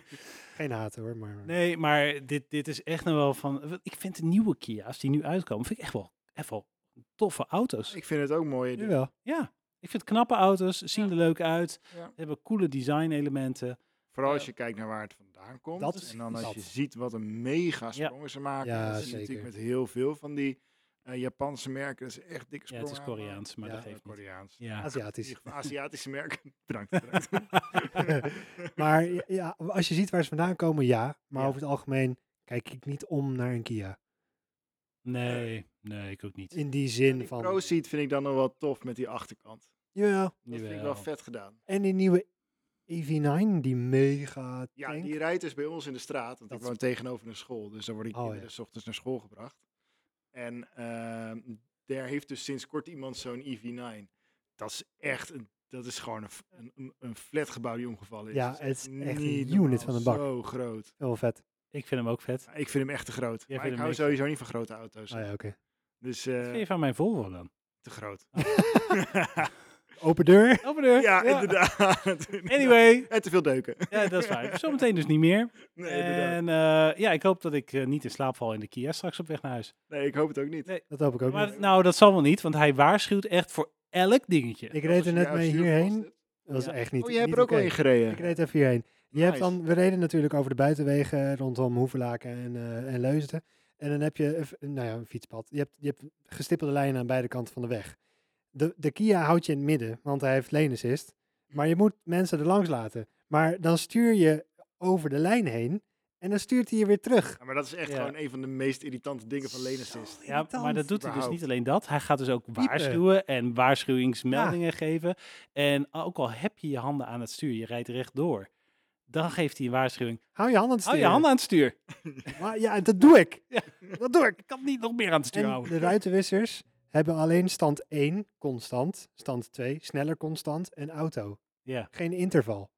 [SPEAKER 1] Geen haat hoor, maar...
[SPEAKER 3] nee, maar dit, dit is echt nog wel van... Ik vind de nieuwe Kia's die nu uitkomen, vind ik echt wel, echt wel toffe auto's.
[SPEAKER 2] Ik vind het ook mooi.
[SPEAKER 1] Nu wel.
[SPEAKER 3] Ja, ik vind knappe auto's, zien er leuk uit,
[SPEAKER 2] Ja.
[SPEAKER 3] hebben coole design elementen.
[SPEAKER 2] Vooral als je kijkt naar waar het vandaan komt.
[SPEAKER 1] Dat
[SPEAKER 2] en
[SPEAKER 1] is
[SPEAKER 2] dan als
[SPEAKER 1] dat.
[SPEAKER 2] je ziet wat een mega
[SPEAKER 3] Ja.
[SPEAKER 2] sprongen ze maken.
[SPEAKER 1] Ja,
[SPEAKER 2] dat zie je natuurlijk
[SPEAKER 1] zeker.
[SPEAKER 2] met heel veel van die eh, Japanse merken. Dat is echt dikke
[SPEAKER 3] Ja,
[SPEAKER 2] sprongen.
[SPEAKER 3] het is
[SPEAKER 2] aanmaken.
[SPEAKER 3] Koreaans, maar
[SPEAKER 1] Ja,
[SPEAKER 3] dat
[SPEAKER 2] Eh,
[SPEAKER 3] geeft niet.
[SPEAKER 2] Koreaans.
[SPEAKER 3] Ja.
[SPEAKER 2] In
[SPEAKER 1] Aziatisch.
[SPEAKER 2] ieder geval Aziatische merken. Bedankt. bedankt.
[SPEAKER 1] Maar ja, ja, als je ziet waar ze vandaan komen, ja. Maar
[SPEAKER 3] Ja.
[SPEAKER 1] over het algemeen kijk ik niet om naar een Kia.
[SPEAKER 3] Nee, nee, ik ook niet.
[SPEAKER 1] In die
[SPEAKER 2] En
[SPEAKER 1] zin
[SPEAKER 2] die
[SPEAKER 1] van...
[SPEAKER 2] Proceed vind ik dan nog wel tof met die achterkant.
[SPEAKER 1] Ja.
[SPEAKER 2] Dat vind ik wel
[SPEAKER 3] Jawel.
[SPEAKER 2] vet gedaan.
[SPEAKER 1] En die nieuwe EV9, die mega
[SPEAKER 2] Ja,
[SPEAKER 1] tank.
[SPEAKER 2] die rijdt dus bij ons in de straat. Want
[SPEAKER 1] Dat
[SPEAKER 2] ik woon tegenover een school. Dus dan worden die
[SPEAKER 1] Oh,
[SPEAKER 2] kinderen s ochtends naar school gebracht. En ehm, daar heeft dus sinds kort iemand zo'n EV9. Dat is echt een, dat is gewoon een, f- een, een- een flatgebouw die omgevallen is.
[SPEAKER 1] Ja,
[SPEAKER 2] Dat
[SPEAKER 1] het is echt een
[SPEAKER 2] niet
[SPEAKER 1] unit
[SPEAKER 2] normaal.
[SPEAKER 1] van een bak.
[SPEAKER 2] Zo groot.
[SPEAKER 1] Heel vet. Oh
[SPEAKER 3] Ik vind hem ook vet.
[SPEAKER 2] Ja, Ik vind hem echt te groot.
[SPEAKER 3] Jij
[SPEAKER 2] maar ik
[SPEAKER 3] vindt hem
[SPEAKER 2] hou
[SPEAKER 3] niks.
[SPEAKER 2] sowieso niet van grote auto's.
[SPEAKER 1] Oh ja, oké.
[SPEAKER 2] Dus
[SPEAKER 3] Wat
[SPEAKER 2] eh,
[SPEAKER 3] vind je van mijn Volvo dan?
[SPEAKER 2] te groot.
[SPEAKER 1] Oh. Open deur.
[SPEAKER 3] Open deur.
[SPEAKER 2] ja, inderdaad.
[SPEAKER 3] Anyway,
[SPEAKER 2] En te veel deuken.
[SPEAKER 3] ja, dat is waar. Zometeen dus niet meer.
[SPEAKER 2] Nee, inderdaad.
[SPEAKER 3] en eh, ja, ik hoop dat ik eh, niet in slaap val in de Kia straks op weg naar huis.
[SPEAKER 2] Nee, ik hoop het ook niet.
[SPEAKER 3] Nee,
[SPEAKER 1] Dat hoop ik ook niet.
[SPEAKER 3] Maar nou, dat zal wel niet, want hij waarschuwt echt voor elk dingetje.
[SPEAKER 1] Ik
[SPEAKER 2] Als
[SPEAKER 1] reed er
[SPEAKER 2] je
[SPEAKER 1] net
[SPEAKER 2] jouw
[SPEAKER 1] mee
[SPEAKER 2] stuur vast
[SPEAKER 1] hierheen.
[SPEAKER 2] hebt-
[SPEAKER 1] Dat was
[SPEAKER 3] Ja.
[SPEAKER 1] echt niet
[SPEAKER 2] Oh, jij hebt
[SPEAKER 1] niet
[SPEAKER 2] er ook al
[SPEAKER 1] oké.
[SPEAKER 2] in gereden.
[SPEAKER 1] Ik reed even hierheen. Je hebt
[SPEAKER 2] Nice.
[SPEAKER 1] dan, we reden natuurlijk over de buitenwegen rondom Hoevelaken en, eh en Leusden. En dan heb je een f- nou ja, een fietspad. Je hebt, je hebt gestippelde lijnen aan beide kanten van de weg. De, de Kia houdt je in het midden, want hij heeft lane assist. Maar je moet mensen er langs laten. Maar dan stuur je over de lijn heen. En dan stuurt hij je weer terug.
[SPEAKER 2] Ja, maar dat is echt
[SPEAKER 3] Ja.
[SPEAKER 2] gewoon een van de meest irritante dingen van Lane Assist.
[SPEAKER 3] Ja, maar dat doet hij dus
[SPEAKER 2] Überhaupt.
[SPEAKER 3] niet alleen dat. Hij gaat dus ook
[SPEAKER 1] Piepen.
[SPEAKER 3] waarschuwen en waarschuwingsmeldingen geven. En ook al heb je je handen aan het stuur, je rijdt rechtdoor. Dan geeft hij een waarschuwing.
[SPEAKER 1] Hou je handen aan het
[SPEAKER 3] Hou
[SPEAKER 1] sturen.
[SPEAKER 3] je handen aan het stuur.
[SPEAKER 1] Maar ja, dat doe ik.
[SPEAKER 3] Ja.
[SPEAKER 1] Dat doe ik.
[SPEAKER 3] Ik kan niet nog meer aan het stuur
[SPEAKER 1] En de
[SPEAKER 3] houden.
[SPEAKER 1] ruitenwissers hebben alleen stand 1 constant, stand 2 sneller constant en auto.
[SPEAKER 3] Ja,
[SPEAKER 1] Geen interval.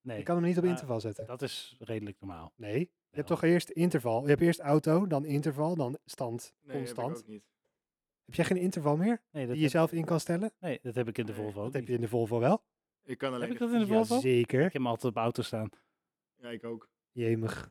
[SPEAKER 3] nee.
[SPEAKER 1] Je kan hem niet op
[SPEAKER 3] Maar
[SPEAKER 1] interval zetten.
[SPEAKER 3] Dat is redelijk normaal.
[SPEAKER 1] Nee, je hebt
[SPEAKER 3] Wel.
[SPEAKER 1] toch eerst interval. Je hebt eerst auto, dan interval, dan stand
[SPEAKER 2] Nee, heb ik
[SPEAKER 1] constant.
[SPEAKER 2] ook niet.
[SPEAKER 1] Heb jij geen interval meer
[SPEAKER 3] Nee, dat,
[SPEAKER 1] die
[SPEAKER 3] heb,
[SPEAKER 1] je zelf in kan stellen?
[SPEAKER 3] nee, dat heb ik in de
[SPEAKER 2] Nee,
[SPEAKER 3] Volvo ook
[SPEAKER 1] Dat heb
[SPEAKER 3] niet.
[SPEAKER 1] je in de Volvo wel.
[SPEAKER 2] Ik kan alleen.
[SPEAKER 3] Heb ik
[SPEAKER 2] de-
[SPEAKER 3] dat in de Volvo? Ik
[SPEAKER 1] Zeker.
[SPEAKER 3] heb hem altijd op auto staan.
[SPEAKER 2] Ja, ik ook.
[SPEAKER 1] Jemig.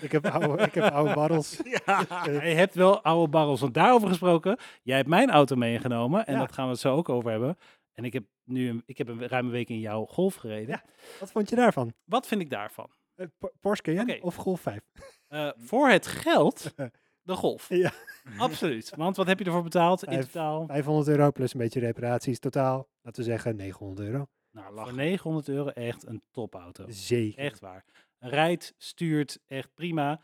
[SPEAKER 1] Ik heb oude, ik heb oude barrels.
[SPEAKER 2] Ja.
[SPEAKER 1] Eh,
[SPEAKER 3] Je hebt wel oude barrels, want daarover gesproken. Jij hebt mijn auto meegenomen en
[SPEAKER 1] Ja.
[SPEAKER 3] dat gaan we het zo ook over hebben. En ik heb nu een, ik heb een ruime week in jouw golf gereden.
[SPEAKER 1] Wat vond je daarvan?
[SPEAKER 3] Wat vind ik daarvan?
[SPEAKER 1] Eh, Por- Porsche Cayenne
[SPEAKER 3] Oké.
[SPEAKER 1] of Golf 5?
[SPEAKER 3] Eh, voor het geld de golf.
[SPEAKER 1] Mm. Ja.
[SPEAKER 3] Absoluut. Want wat heb je ervoor betaald in
[SPEAKER 1] Vijf-
[SPEAKER 3] totaal? Nou,
[SPEAKER 1] 500 euro plus een beetje reparaties totaal. Laten we zeggen 900 euro.
[SPEAKER 3] Nou,
[SPEAKER 2] lachen.
[SPEAKER 3] voor 900 euro echt een topauto.
[SPEAKER 1] Zeker.
[SPEAKER 3] Echt waar. Rijdt, stuurt, echt prima.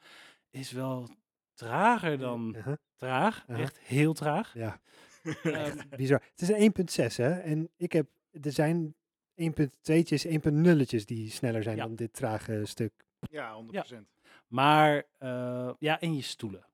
[SPEAKER 3] Is wel trager dan
[SPEAKER 1] Uh-huh.
[SPEAKER 3] traag.
[SPEAKER 1] Aha.
[SPEAKER 3] Echt heel traag.
[SPEAKER 1] Ja,
[SPEAKER 3] Ehm,
[SPEAKER 1] bizar. Het is een 1.6 hè. En ik heb, er zijn 1.2'tjes, 1.0'tjes die sneller zijn
[SPEAKER 3] Ja.
[SPEAKER 1] dan dit trage stuk.
[SPEAKER 2] ja, 100%.
[SPEAKER 3] maar eh, ja, en je stoelen.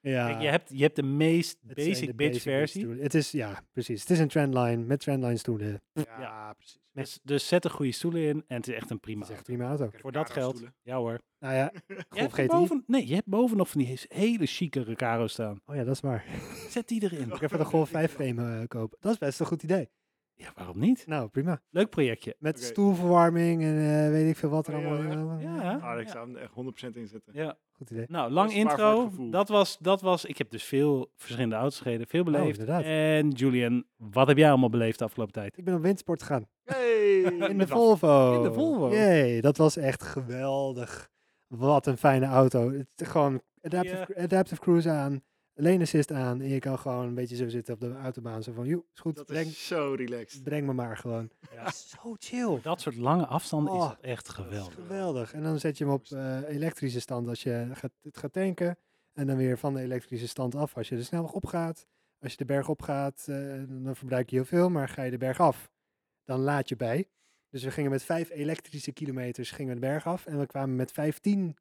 [SPEAKER 1] Ja,
[SPEAKER 3] Kijk, je hebt, je hebt de meest
[SPEAKER 1] Eh, het zijn
[SPEAKER 3] basic
[SPEAKER 1] de
[SPEAKER 3] bitch
[SPEAKER 1] basic
[SPEAKER 3] versie.
[SPEAKER 1] stoelen. Het is, ja, precies. Het is een trendline met trendline stoelen.
[SPEAKER 2] Ja,
[SPEAKER 3] Ja.
[SPEAKER 2] precies.
[SPEAKER 3] Dus, dus zet er goede stoelen in en het is echt een prima.
[SPEAKER 1] Dat is echt
[SPEAKER 3] auto.
[SPEAKER 1] prima auto.
[SPEAKER 3] Voor dat geld,
[SPEAKER 2] Stoelen.
[SPEAKER 3] ja hoor.
[SPEAKER 1] Nou ja,
[SPEAKER 3] Je hebt
[SPEAKER 1] Golf
[SPEAKER 3] er
[SPEAKER 1] GTI.
[SPEAKER 3] boven, nee, je hebt boven nog van die he- hele chique Recaro staan.
[SPEAKER 1] Oh ja, dat is waar.
[SPEAKER 3] Zet die erin.
[SPEAKER 1] Ik heb voor de Golf 5 game eh, kopen. Dat is best een goed idee.
[SPEAKER 3] Ja, waarom niet?
[SPEAKER 1] Nou, prima.
[SPEAKER 3] Leuk projectje.
[SPEAKER 1] Met
[SPEAKER 2] Oké.
[SPEAKER 1] stoelverwarming en eh, weet ik veel wat er
[SPEAKER 2] Oh ja,
[SPEAKER 1] allemaal
[SPEAKER 2] echt?
[SPEAKER 1] allemaal.
[SPEAKER 3] Ja.
[SPEAKER 2] Ah, ik
[SPEAKER 3] Ja.
[SPEAKER 2] zou hem er echt 100% in zetten.
[SPEAKER 3] Ja.
[SPEAKER 1] Goed idee.
[SPEAKER 3] Nou, lang
[SPEAKER 2] is het maar voor het
[SPEAKER 3] intro.
[SPEAKER 2] gevoel.
[SPEAKER 3] Dat was, dat was, ik heb dus veel verschillende auto's gereden, veel beleefd.
[SPEAKER 1] inderdaad.
[SPEAKER 3] en Julian, wat heb jij allemaal beleefd de afgelopen tijd?
[SPEAKER 1] Ik ben op windsport gegaan.
[SPEAKER 2] Hey!
[SPEAKER 1] In de
[SPEAKER 2] Met
[SPEAKER 1] Volvo.
[SPEAKER 3] In de Volvo.
[SPEAKER 1] Jee, dat was echt geweldig. Wat een fijne auto. Het, is gewoon adaptive,
[SPEAKER 3] Ja.
[SPEAKER 1] cru- adaptive cruise aan, lane assist aan. En je kan gewoon een beetje zo zitten op de autobaan. Zo van, joh, is goed,
[SPEAKER 2] Dat
[SPEAKER 1] breng,
[SPEAKER 2] is zo relaxed.
[SPEAKER 1] breng me maar gewoon.
[SPEAKER 3] Ja.
[SPEAKER 1] Zo chill.
[SPEAKER 3] Dat soort lange afstanden is
[SPEAKER 1] Oh,
[SPEAKER 3] dat echt geweldig.
[SPEAKER 1] Geweldig. En dan zet je hem op eh, elektrische stand als je gaat, het gaat tanken. En dan weer van de elektrische stand af als je de snelweg opgaat. Als je de berg opgaat, eh dan verbruik je heel veel. Maar ga je de berg af, dan laat je bij. Dus we gingen met vijf elektrische kilometers gingen we de berg af. En we kwamen met vijftien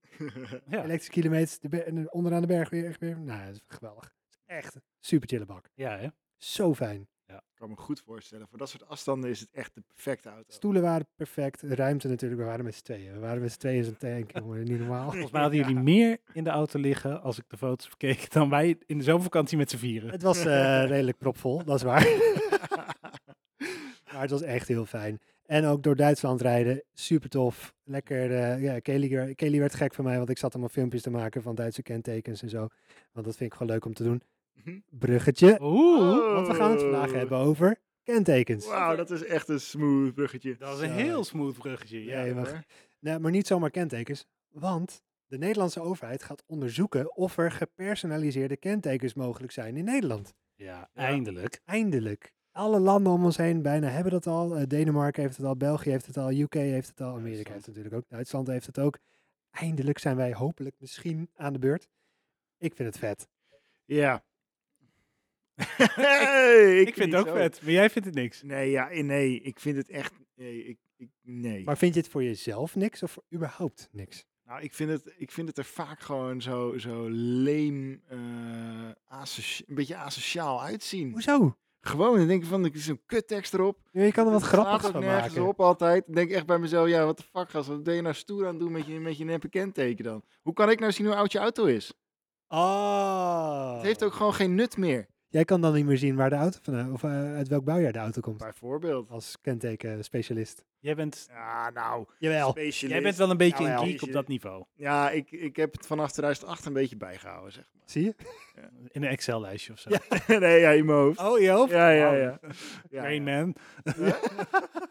[SPEAKER 3] Ja.
[SPEAKER 1] elektrische kilometers de ber- en eh, onderaan de berg weer. weer. Nou, dat is geweldig. Echt super chille bak.
[SPEAKER 3] Ja, hè?
[SPEAKER 1] Zo fijn.
[SPEAKER 2] Ik kan me goed voorstellen. Voor dat soort afstanden is het echt de perfecte auto.
[SPEAKER 1] Stoelen waren perfect. De ruimte natuurlijk. We waren met z'n tweeën. We waren met z'n tweeën in zo'n tank. jongen, Niet normaal.
[SPEAKER 3] Volgens mij hadden jullie meer in de auto liggen, als ik de foto's bekeken, dan wij in de zomervakantie met z'n vieren.
[SPEAKER 1] Het was eh, redelijk propvol, dat is waar. maar het was echt heel fijn. En ook door Duitsland rijden, super tof. Lekker, eh, ja, Kelly, wer- Kelly werd gek van mij, want ik zat allemaal filmpjes te maken van Duitse kentekens en zo. Want dat vind ik gewoon leuk om te doen.
[SPEAKER 2] Mhm.
[SPEAKER 1] Bruggetje,
[SPEAKER 3] Oeh,
[SPEAKER 1] want we gaan het vandaag
[SPEAKER 2] Oh.
[SPEAKER 1] hebben over kentekens.
[SPEAKER 2] Wauw, dat is echt een smooth bruggetje.
[SPEAKER 3] dat is een
[SPEAKER 1] Zo.
[SPEAKER 3] heel smooth bruggetje. Ja.
[SPEAKER 1] Nee,
[SPEAKER 2] Ja,
[SPEAKER 1] maar-
[SPEAKER 2] hoor.
[SPEAKER 1] Nee, Nou, maar niet zomaar kentekens, want de Nederlandse overheid gaat onderzoeken of er gepersonaliseerde kentekens mogelijk zijn in Nederland.
[SPEAKER 3] ja, eindelijk.
[SPEAKER 1] Eindelijk. Alle landen om ons heen bijna hebben dat al. Eh, Denemarken heeft het al, België heeft het al, UK heeft het al, Amerika heeft het natuurlijk ook, Duitsland heeft het ook. Eindelijk zijn wij hopelijk misschien aan de beurt. Ik vind het vet.
[SPEAKER 2] Ja. Hey,
[SPEAKER 3] Ik vind het ook
[SPEAKER 2] zo.
[SPEAKER 3] vet, maar jij vindt het niks.
[SPEAKER 2] Nee, ja, eh, nee, ik vind het echt. Nee, ik, ik, nee.
[SPEAKER 1] Maar vind je het voor jezelf niks of voor überhaupt niks?
[SPEAKER 2] Nou, ik vind, het, ik vind het er vaak gewoon zo, zo leem, eh, asoci- een beetje asociaal uitzien.
[SPEAKER 1] Hoezo?
[SPEAKER 2] Gewoon, dan denk ik van, ik zo'n kuttekst erop.
[SPEAKER 1] Je kan er wat
[SPEAKER 2] Het
[SPEAKER 1] grappigs
[SPEAKER 2] slaat ook
[SPEAKER 1] van
[SPEAKER 2] nergens
[SPEAKER 1] maken.
[SPEAKER 2] op altijd. Ik denk echt bij mezelf, ja, wat de fuck, gast, wat ben je nou stoer aan het doen met je, met je neppe kenteken dan? Hoe kan ik nou zien hoe oud je auto is?
[SPEAKER 1] Oh.
[SPEAKER 2] Het heeft ook gewoon geen nut meer.
[SPEAKER 1] Jij kan dan niet meer zien waar de auto vandaan, of eh, uit welk bouwjaar de auto komt.
[SPEAKER 2] Bijvoorbeeld.
[SPEAKER 1] Als kentekenspecialist.
[SPEAKER 3] Jij bent,
[SPEAKER 2] Ja, nou,
[SPEAKER 1] Jawel.
[SPEAKER 2] specialist.
[SPEAKER 3] jij bent wel een beetje een
[SPEAKER 1] Jawel.
[SPEAKER 3] geek op dat niveau.
[SPEAKER 2] Ja, ik, ik heb het vanaf 2008 een beetje bijgehouden, zeg
[SPEAKER 1] Zie je?
[SPEAKER 3] In een Excel-lijstje of zo.
[SPEAKER 1] Ja.
[SPEAKER 2] maar. nee, ja, in mijn hoofd.
[SPEAKER 3] Oh, je hoofd?
[SPEAKER 2] Ja, ja, ja. ja,
[SPEAKER 3] Rain
[SPEAKER 2] ja.
[SPEAKER 3] Man.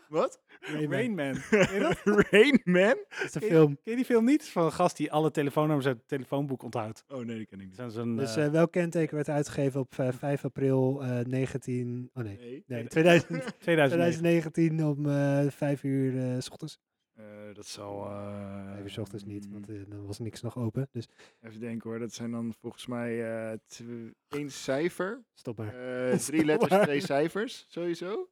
[SPEAKER 2] Wat?
[SPEAKER 1] Nee, man.
[SPEAKER 3] Rain Man. Ken je dat?
[SPEAKER 2] Rain Man?
[SPEAKER 1] Dat is een film.
[SPEAKER 3] Ken je die film niet? Van een gast die alle telefoonnummers uit het telefoonboek onthoudt.
[SPEAKER 2] Oh nee, die ken ik niet.
[SPEAKER 3] Zijn zo'n,
[SPEAKER 1] Dus
[SPEAKER 3] eh,
[SPEAKER 1] eh, welk kenteken werd uitgegeven op eh, 5 april eh 19... Oh nee,
[SPEAKER 2] Nee.
[SPEAKER 1] nee
[SPEAKER 3] Nee,
[SPEAKER 1] 2000,
[SPEAKER 3] 2009.
[SPEAKER 1] 2019 om eh 5 uur eh, s ochtends.
[SPEAKER 2] Eh, dat zal... eh,
[SPEAKER 1] Even 's ochtends niet, want eh, dan was niks nog open. Dus
[SPEAKER 2] Even denken hoor, dat zijn dan volgens mij eh, tw- één cijfer,
[SPEAKER 1] stop maar.
[SPEAKER 2] eh, drie letters, twee cijfers, sowieso.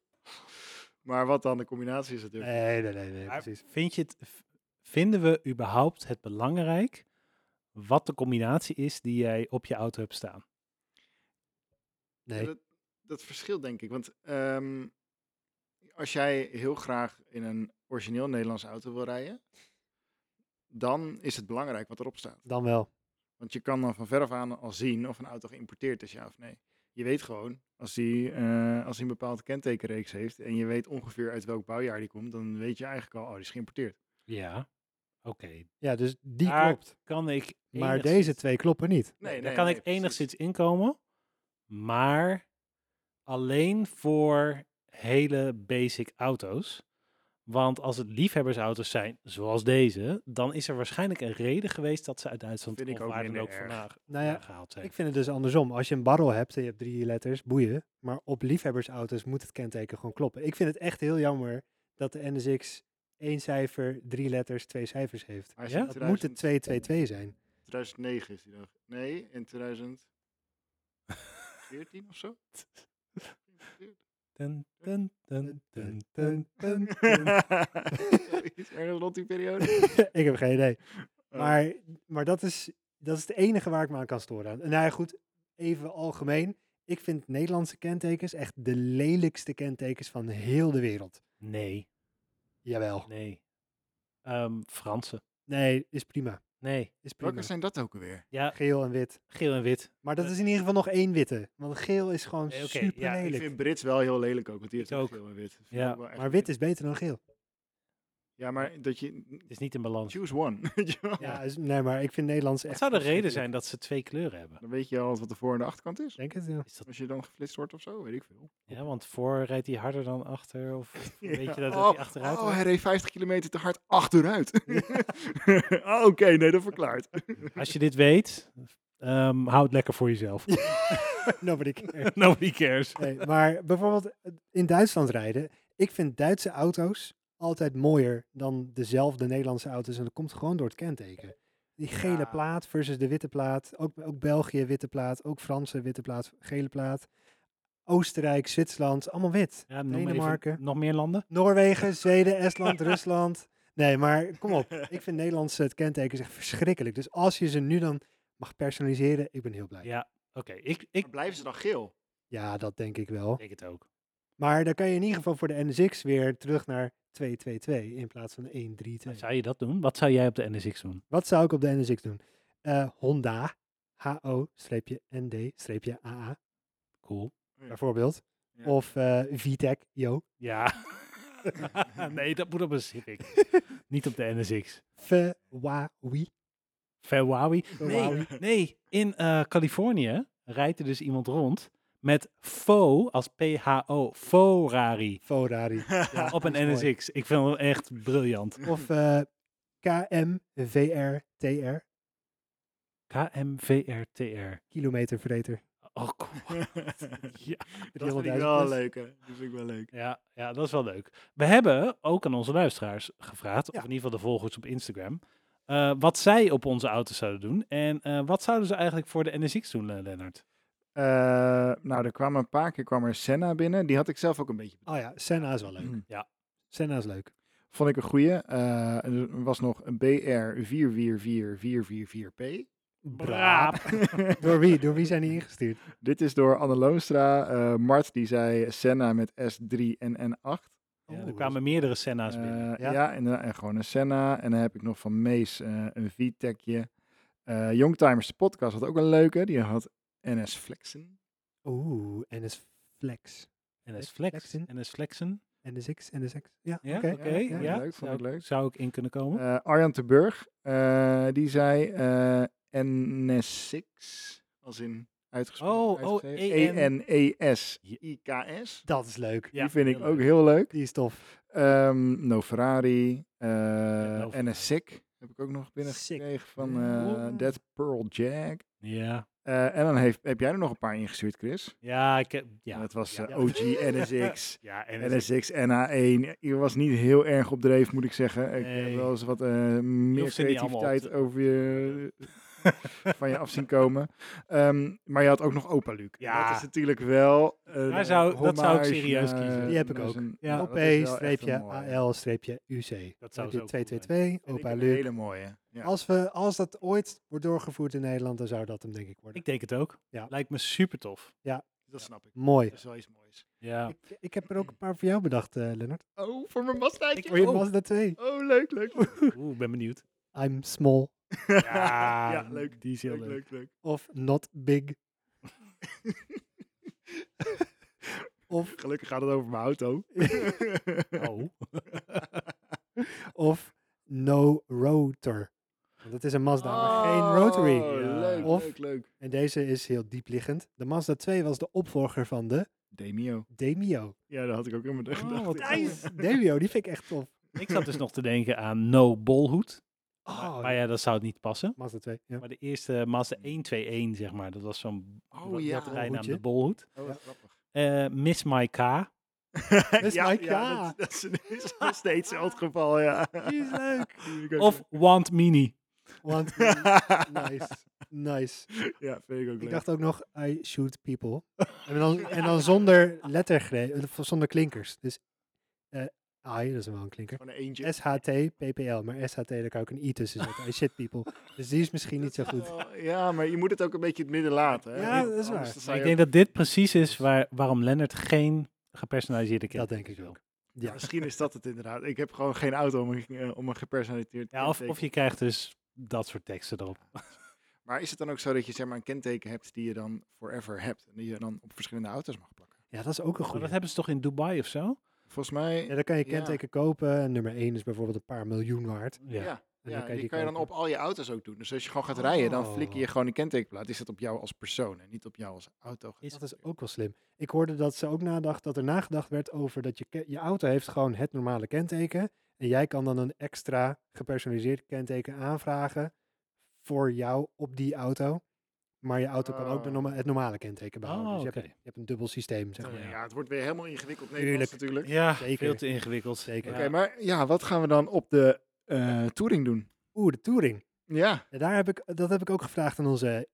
[SPEAKER 2] Maar wat dan de combinatie is natuurlijk.
[SPEAKER 1] Nee, nee, nee, nee,
[SPEAKER 3] Maar
[SPEAKER 1] precies.
[SPEAKER 3] Vind je het, v- vinden we überhaupt het belangrijk wat de combinatie is die jij op je auto hebt staan?
[SPEAKER 1] Nee.
[SPEAKER 2] Dat, dat verschilt denk ik, want ehm, als jij heel graag in een origineel Nederlands auto wil rijden, dan is het belangrijk wat erop staat.
[SPEAKER 1] Dan wel.
[SPEAKER 2] Want je kan dan van veraf aan al zien of een auto geïmporteerd is, ja of nee. Je weet gewoon, als die, eh, als die een bepaalde kentekenreeks heeft en je weet ongeveer uit welk bouwjaar die komt, dan weet je eigenlijk al, oh, die is geïmporteerd.
[SPEAKER 3] Ja. Oké,
[SPEAKER 1] Ja, dus die
[SPEAKER 3] Daar-
[SPEAKER 1] klopt.
[SPEAKER 3] kan ik.
[SPEAKER 1] Maar
[SPEAKER 3] enigszins-
[SPEAKER 1] deze twee kloppen niet.
[SPEAKER 3] Nee, daar kan ik
[SPEAKER 2] precies.
[SPEAKER 3] enigszins inkomen, maar alleen voor hele basic auto's. Want als het liefhebbersauto's zijn, zoals deze, dan is er waarschijnlijk een reden geweest dat ze uit Duitsland
[SPEAKER 2] Vind ik
[SPEAKER 3] of
[SPEAKER 2] ook
[SPEAKER 3] waar dan
[SPEAKER 2] minder
[SPEAKER 3] ook
[SPEAKER 2] erg.
[SPEAKER 3] vandaan
[SPEAKER 1] Nou ja,
[SPEAKER 3] gehaald zijn.
[SPEAKER 1] Ik vind het dus andersom. Als je een barrel hebt en je hebt drie letters, boeien. Maar op liefhebbersauto's moet het kenteken gewoon kloppen. Ik vind het echt heel jammer dat de NSX één cijfer, drie letters, twee cijfers heeft.
[SPEAKER 2] Hij is
[SPEAKER 3] Ja,
[SPEAKER 2] in
[SPEAKER 1] Dat moet het
[SPEAKER 2] 2000
[SPEAKER 1] 222 zijn.
[SPEAKER 2] 2009 is die dag. Nee, in 2014 of zo.
[SPEAKER 3] Dun, dun, dun, dun, dun, dun, dun.
[SPEAKER 2] Zoiets, Ergens rond die periode.
[SPEAKER 1] ik heb geen idee.
[SPEAKER 2] Oh.
[SPEAKER 1] Maar, maar dat, is, dat is het enige waar ik me aan kan storen. En nou ja, goed, even algemeen. Ik vind Nederlandse kentekens echt de lelijkste kentekens van heel de wereld.
[SPEAKER 3] Nee,
[SPEAKER 1] Jawel.
[SPEAKER 3] nee. Ehm Franse.
[SPEAKER 1] Nee, is prima.
[SPEAKER 3] Nee.
[SPEAKER 1] Is prima.
[SPEAKER 2] Welke zijn dat ook alweer?
[SPEAKER 3] Ja,
[SPEAKER 1] Geel en wit.
[SPEAKER 3] geel en wit.
[SPEAKER 1] Maar dat
[SPEAKER 3] Eh,
[SPEAKER 1] is in ieder geval nog één witte. Want geel is gewoon
[SPEAKER 3] Eh, oké,
[SPEAKER 1] super
[SPEAKER 3] ja, ik
[SPEAKER 2] Ik
[SPEAKER 1] lelijk.
[SPEAKER 2] vind Brits wel heel lelijk ook, want die
[SPEAKER 3] Ik
[SPEAKER 2] heeft ook
[SPEAKER 3] ook.
[SPEAKER 2] geel en wit. Vind ik
[SPEAKER 3] Ja.
[SPEAKER 2] ook wel echt-
[SPEAKER 1] Maar wit is beter dan geel.
[SPEAKER 2] Ja, maar dat je...
[SPEAKER 3] Het is niet in balans.
[SPEAKER 2] Choose one. weet je wel.
[SPEAKER 1] Ja, is- nee, maar ik vind Nederlands echt...
[SPEAKER 3] Wat zou de reden
[SPEAKER 1] verschrikkelijk.
[SPEAKER 3] zijn dat ze twee kleuren hebben?
[SPEAKER 2] Dan weet je al wat de voor- en de achterkant is.
[SPEAKER 1] Ik Denk het, ja.
[SPEAKER 3] Is dat
[SPEAKER 2] Als je dan geflitst wordt of zo, weet ik veel.
[SPEAKER 3] Ja, want voor rijdt hij harder dan achter. Of weet je
[SPEAKER 2] Ja.
[SPEAKER 3] dat, dat
[SPEAKER 2] oh,
[SPEAKER 3] hij achteruit
[SPEAKER 2] Oh,
[SPEAKER 3] rijdt?
[SPEAKER 2] hij reed 50 kilometer te hard achteruit. oh, Oké, nee, dat verklaart.
[SPEAKER 3] Als je dit weet, ehm hou het lekker voor jezelf.
[SPEAKER 1] Nobody cares.
[SPEAKER 3] Nobody cares.
[SPEAKER 1] Nee, maar bijvoorbeeld eh, in Duitsland rijden. Ik vind Duitse auto's altijd mooier dan dezelfde Nederlandse auto's. En dat komt gewoon door het kenteken. Die gele
[SPEAKER 2] Ja.
[SPEAKER 1] plaat versus de witte plaat. Ook, ook België witte plaat. Ook Franse witte plaat. Gele plaat. Oostenrijk, Zwitserland. Allemaal wit.
[SPEAKER 3] Ja, noem maar even
[SPEAKER 1] Denemarken.
[SPEAKER 3] nog meer landen?
[SPEAKER 1] Noorwegen, Zweden, Estland, Rusland. Nee, maar kom op. Ik vind Nederlandse het kenteken echt verschrikkelijk. Dus als je ze nu dan mag personaliseren, ik ben heel blij. Ja,
[SPEAKER 3] Ja, oké. Ik, ik
[SPEAKER 2] Maar blijven ze dan geel?
[SPEAKER 1] dat denk ik
[SPEAKER 2] Oh.
[SPEAKER 1] wel.
[SPEAKER 3] denk het ook.
[SPEAKER 1] Maar dan kan je in ieder geval voor de NSX weer terug naar 222 in plaats van 132.
[SPEAKER 3] Zou je dat doen? Wat zou jij op de NSX doen?
[SPEAKER 1] Wat zou ik op de NSX doen? Eh, Honda, HO-ND-AA,
[SPEAKER 3] Cool.
[SPEAKER 1] bijvoorbeeld.
[SPEAKER 2] Ja.
[SPEAKER 1] Of eh VTEC, yo.
[SPEAKER 3] Ja. nee, dat moet op een Civic. Niet op de NSX.
[SPEAKER 1] Ferwawi.
[SPEAKER 3] Ferrari.
[SPEAKER 1] Ferrari.
[SPEAKER 3] Nee, nee. in eh, Californië rijdt er dus iemand rond met FO als PHO. Ferrari.
[SPEAKER 1] Ferrari. Ja,
[SPEAKER 3] op
[SPEAKER 1] dat is
[SPEAKER 3] een
[SPEAKER 1] mooi.
[SPEAKER 3] NSX. Ik vind hem echt briljant.
[SPEAKER 1] Of eh KMVRTR,
[SPEAKER 3] KMVRTR.
[SPEAKER 1] kilometervreter.
[SPEAKER 3] Oh, cool. ja.
[SPEAKER 2] dat vind ik
[SPEAKER 1] 300.000
[SPEAKER 2] wel
[SPEAKER 1] plus.
[SPEAKER 2] leuk. hè. Dat vind ik wel leuk.
[SPEAKER 3] Ja, ja, dat is wel leuk. We hebben ook aan onze luisteraars gevraagd,
[SPEAKER 1] Ja.
[SPEAKER 3] of in ieder geval de volgers op Instagram, eh, wat zij op onze auto's zouden doen. En eh, wat zouden ze eigenlijk voor de NSX doen, eh, Lennart?
[SPEAKER 2] Eh, nou, er kwamen een paar keer kwam er Senna binnen. Die had ik zelf ook een beetje.
[SPEAKER 1] Oh ja, Senna is wel leuk.
[SPEAKER 2] bedacht.
[SPEAKER 1] Senna is leuk.
[SPEAKER 2] Vond ik een goeie. Eh, er was nog een BR444444P.
[SPEAKER 1] Door wie? Door wie zijn die ingestuurd?
[SPEAKER 2] Dit is door Anne Loonstra. Eh, Mart die zei Senna met S3 en N8.
[SPEAKER 3] Ja,
[SPEAKER 1] Oeh,
[SPEAKER 3] er
[SPEAKER 1] dat
[SPEAKER 3] kwamen meerdere Senna's binnen.
[SPEAKER 2] Eh,
[SPEAKER 1] Ja.
[SPEAKER 2] ja, en, dan- en gewoon een Senna. En dan heb ik nog van Mees eh, een VTECje. Eh Youngtimers, de podcast, had ook een leuke. Die had NS Flexen.
[SPEAKER 1] Oeh, NS Flex.
[SPEAKER 3] NS Flex,
[SPEAKER 1] Eh, Flexen.
[SPEAKER 3] NS Flexen.
[SPEAKER 1] NSX, NSX. Ja,
[SPEAKER 3] Ja,
[SPEAKER 1] oké.
[SPEAKER 3] oké. ja,
[SPEAKER 2] ja, leuk, vond
[SPEAKER 3] zou,
[SPEAKER 2] ik leuk.
[SPEAKER 3] zou ik in kunnen komen.
[SPEAKER 2] Eh, Arjan te Burg, eh, die zei eh, NS6, als in uitgesproken. E
[SPEAKER 3] Oh, oh, EN.
[SPEAKER 2] E-N-E-S-I-K-S.
[SPEAKER 1] Dat is leuk.
[SPEAKER 3] Ja,
[SPEAKER 2] die vind ik
[SPEAKER 3] heel
[SPEAKER 2] ook
[SPEAKER 3] leuk.
[SPEAKER 2] heel leuk.
[SPEAKER 1] Die is tof.
[SPEAKER 2] Ehm, no Ferrari, eh
[SPEAKER 3] No Ferrari.
[SPEAKER 2] NS Sick heb ik ook nog binnen
[SPEAKER 1] Sick.
[SPEAKER 2] gekregen van
[SPEAKER 1] Ja.
[SPEAKER 2] eh, Dead Pearl Jag.
[SPEAKER 3] Ja,
[SPEAKER 2] Eh, en dan heeft, heb jij er nog een paar ingestuurd, Chris.
[SPEAKER 3] Ja, ik heb... Ja,
[SPEAKER 2] dat was
[SPEAKER 3] ja.
[SPEAKER 2] eh, OG, NSX,
[SPEAKER 3] Ja, en het is
[SPEAKER 2] NSX, NA1. Je was niet heel erg op dreef, moet ik zeggen. Ik heb
[SPEAKER 3] Nee.
[SPEAKER 2] wel eens wat eh, meer
[SPEAKER 3] hoeft ze niet allemaal op
[SPEAKER 2] creativiteit
[SPEAKER 3] te-
[SPEAKER 2] over je, van je af zien komen. Ehm, maar je had ook nog Opa Luc. En
[SPEAKER 3] Ja.
[SPEAKER 2] Dat is natuurlijk wel een
[SPEAKER 3] Daar zou- dat zou ik
[SPEAKER 2] hommage
[SPEAKER 3] serieus kiezen.
[SPEAKER 2] naar-
[SPEAKER 1] Die heb ik
[SPEAKER 2] naar
[SPEAKER 1] ook.
[SPEAKER 2] zijn-
[SPEAKER 1] Ja,
[SPEAKER 2] dat
[SPEAKER 1] op
[SPEAKER 2] is wel echt een mooie.
[SPEAKER 1] OP-AL-UC.
[SPEAKER 3] Dat
[SPEAKER 1] Dan
[SPEAKER 3] zou
[SPEAKER 1] heb
[SPEAKER 3] zo
[SPEAKER 1] je
[SPEAKER 3] cool zijn.
[SPEAKER 1] 222,
[SPEAKER 2] Vind ik
[SPEAKER 1] opa
[SPEAKER 2] een
[SPEAKER 1] Luc.
[SPEAKER 2] hele mooie. Ja.
[SPEAKER 1] Als, we, als dat ooit wordt doorgevoerd in Nederland, dan zou dat hem denk ik worden.
[SPEAKER 3] Ik denk het ook.
[SPEAKER 1] Ja.
[SPEAKER 3] Lijkt me super tof.
[SPEAKER 2] Dat snap ik.
[SPEAKER 1] Mooi.
[SPEAKER 2] Dat is wel iets moois.
[SPEAKER 3] Dus, Ja.
[SPEAKER 1] Ik, ik heb er ook een paar voor jou bedacht, eh, Lennart.
[SPEAKER 2] Oh, voor mijn mastijdje.
[SPEAKER 1] Voor je
[SPEAKER 2] Oh.
[SPEAKER 1] Mazda 2.
[SPEAKER 2] Oh, leuk, leuk.
[SPEAKER 3] Oeh, ik ben benieuwd.
[SPEAKER 1] I'm small
[SPEAKER 3] Ja,
[SPEAKER 2] leuk.
[SPEAKER 3] Die is heel
[SPEAKER 2] Leuk,
[SPEAKER 3] leuk.
[SPEAKER 2] leuk, leuk.
[SPEAKER 1] of not big. of,
[SPEAKER 2] Gelukkig gaat het over mijn auto.
[SPEAKER 3] Oh.
[SPEAKER 1] of no rotor. Want het is een Mazda,
[SPEAKER 3] Ah.
[SPEAKER 1] maar geen rotary.
[SPEAKER 3] Ja.
[SPEAKER 2] Oh, Leuk,
[SPEAKER 1] Of-
[SPEAKER 2] leuk, leuk.
[SPEAKER 1] En deze is heel diepliggend. De Mazda 2 was de opvolger van de
[SPEAKER 2] Demio.
[SPEAKER 1] Demio.
[SPEAKER 2] Ja, dat had ik ook in mijn
[SPEAKER 3] Oh,
[SPEAKER 2] gedachten.
[SPEAKER 3] wat
[SPEAKER 2] Ja.
[SPEAKER 3] nice.
[SPEAKER 1] Demio, die vind ik echt tof.
[SPEAKER 3] Ik zat dus nog te denken aan No Bolhoed.
[SPEAKER 1] Oh,
[SPEAKER 3] Maar ja, dat zou het niet passen.
[SPEAKER 1] Mazda 2. Ja.
[SPEAKER 3] Maar de eerste Mazda 121, zeg maar. Dat was zo'n
[SPEAKER 2] Oh,
[SPEAKER 3] wat-
[SPEAKER 2] ja.
[SPEAKER 3] dat rijnaam,
[SPEAKER 1] Bolhoedje.
[SPEAKER 3] de Bolhoed.
[SPEAKER 2] Oh,
[SPEAKER 1] Ja.
[SPEAKER 2] wat grappig.
[SPEAKER 3] Eh, Miss My K.
[SPEAKER 1] is Mike, ja.
[SPEAKER 2] dat, dat is, is nog steeds het geval, ja.
[SPEAKER 1] Die is leuk.
[SPEAKER 2] Die vind ik ook
[SPEAKER 3] Of
[SPEAKER 2] leuk.
[SPEAKER 3] Want Mini.
[SPEAKER 1] Want, nice. Nice.
[SPEAKER 2] ja, vind ik ook leuk.
[SPEAKER 1] Ik dacht ook nog, I shoot people. En dan, en dan zonder lettergreep, eh, of zonder klinkers. Dus eh I, dat is wel een klinker.
[SPEAKER 2] Gewoon een eentje.
[SPEAKER 1] SHT, PPL. Maar SHT, daar kan ik een I tussen zetten. I shit people. Dus die is misschien niet zo goed.
[SPEAKER 2] Wel, Oh, Ja, maar je moet het ook een beetje in het midden laten. Hè?
[SPEAKER 1] Ja,
[SPEAKER 2] Want
[SPEAKER 1] dat is
[SPEAKER 2] anders
[SPEAKER 1] waar.
[SPEAKER 2] dan sta
[SPEAKER 3] Maar ik
[SPEAKER 2] je
[SPEAKER 3] denk dat dit precies is waar, waarom Lennart geen gepersonaliseerde
[SPEAKER 1] Dat
[SPEAKER 3] kentekens
[SPEAKER 1] denk ik
[SPEAKER 3] wil.
[SPEAKER 1] ook.
[SPEAKER 2] Ja,
[SPEAKER 1] Ja.
[SPEAKER 2] misschien is dat het inderdaad. Ik heb gewoon geen auto om een, eh, om een gepersonaliseerd
[SPEAKER 3] Ja, of,
[SPEAKER 2] kenteken.
[SPEAKER 3] of je krijgt dus dat soort teksten erop.
[SPEAKER 2] Maar is het dan ook zo dat je zeg maar, een kenteken hebt die je dan forever hebt? En die je dan op verschillende auto's mag plakken?
[SPEAKER 1] ja, dat is ook een
[SPEAKER 3] Maar
[SPEAKER 1] goede.
[SPEAKER 3] dat hebben ze toch in Dubai of zo?
[SPEAKER 2] Volgens mij,
[SPEAKER 1] Ja,
[SPEAKER 2] ja,
[SPEAKER 1] dan kan je
[SPEAKER 2] Ja.
[SPEAKER 1] kenteken kopen. En nummer 1 is bijvoorbeeld een paar miljoen waard.
[SPEAKER 3] Ja.
[SPEAKER 1] dan kan je
[SPEAKER 2] die,
[SPEAKER 1] die
[SPEAKER 2] kan je dan op
[SPEAKER 1] kopen.
[SPEAKER 2] al je auto's ook doen. Dus als je gewoon gaat rijden, dan flikker je
[SPEAKER 1] Oh.
[SPEAKER 2] gewoon een kentekenplaat. Is dat op jou als persoon en niet op jou als auto?
[SPEAKER 3] Is-
[SPEAKER 1] Dat is ook wel slim. Ik hoorde dat ze ook nadacht dat er nagedacht werd over dat je, ke- je auto heeft gewoon het normale kenteken. En jij kan dan een extra gepersonaliseerd kenteken aanvragen voor jou op die auto. Maar je auto kan ook de
[SPEAKER 2] Oh.
[SPEAKER 1] norma- het normale kenteken behouden.
[SPEAKER 3] Oh,
[SPEAKER 1] dus je, hebt,
[SPEAKER 3] oké.
[SPEAKER 1] een- je hebt een dubbel systeem, zeg
[SPEAKER 2] Ja,
[SPEAKER 1] maar.
[SPEAKER 3] Ja.
[SPEAKER 2] het wordt weer helemaal ingewikkeld
[SPEAKER 1] Tuurlijk.
[SPEAKER 2] Nederlands natuurlijk.
[SPEAKER 3] Ja,
[SPEAKER 1] Zeker.
[SPEAKER 3] veel te ingewikkeld.
[SPEAKER 1] Zeker.
[SPEAKER 2] Oké,
[SPEAKER 3] Ja.
[SPEAKER 2] maar ja, wat gaan we dan op de eh, touring doen?
[SPEAKER 1] Oeh, de Touring.
[SPEAKER 2] Ja,
[SPEAKER 1] Ja, daar heb ik, dat heb ik ook gevraagd aan onze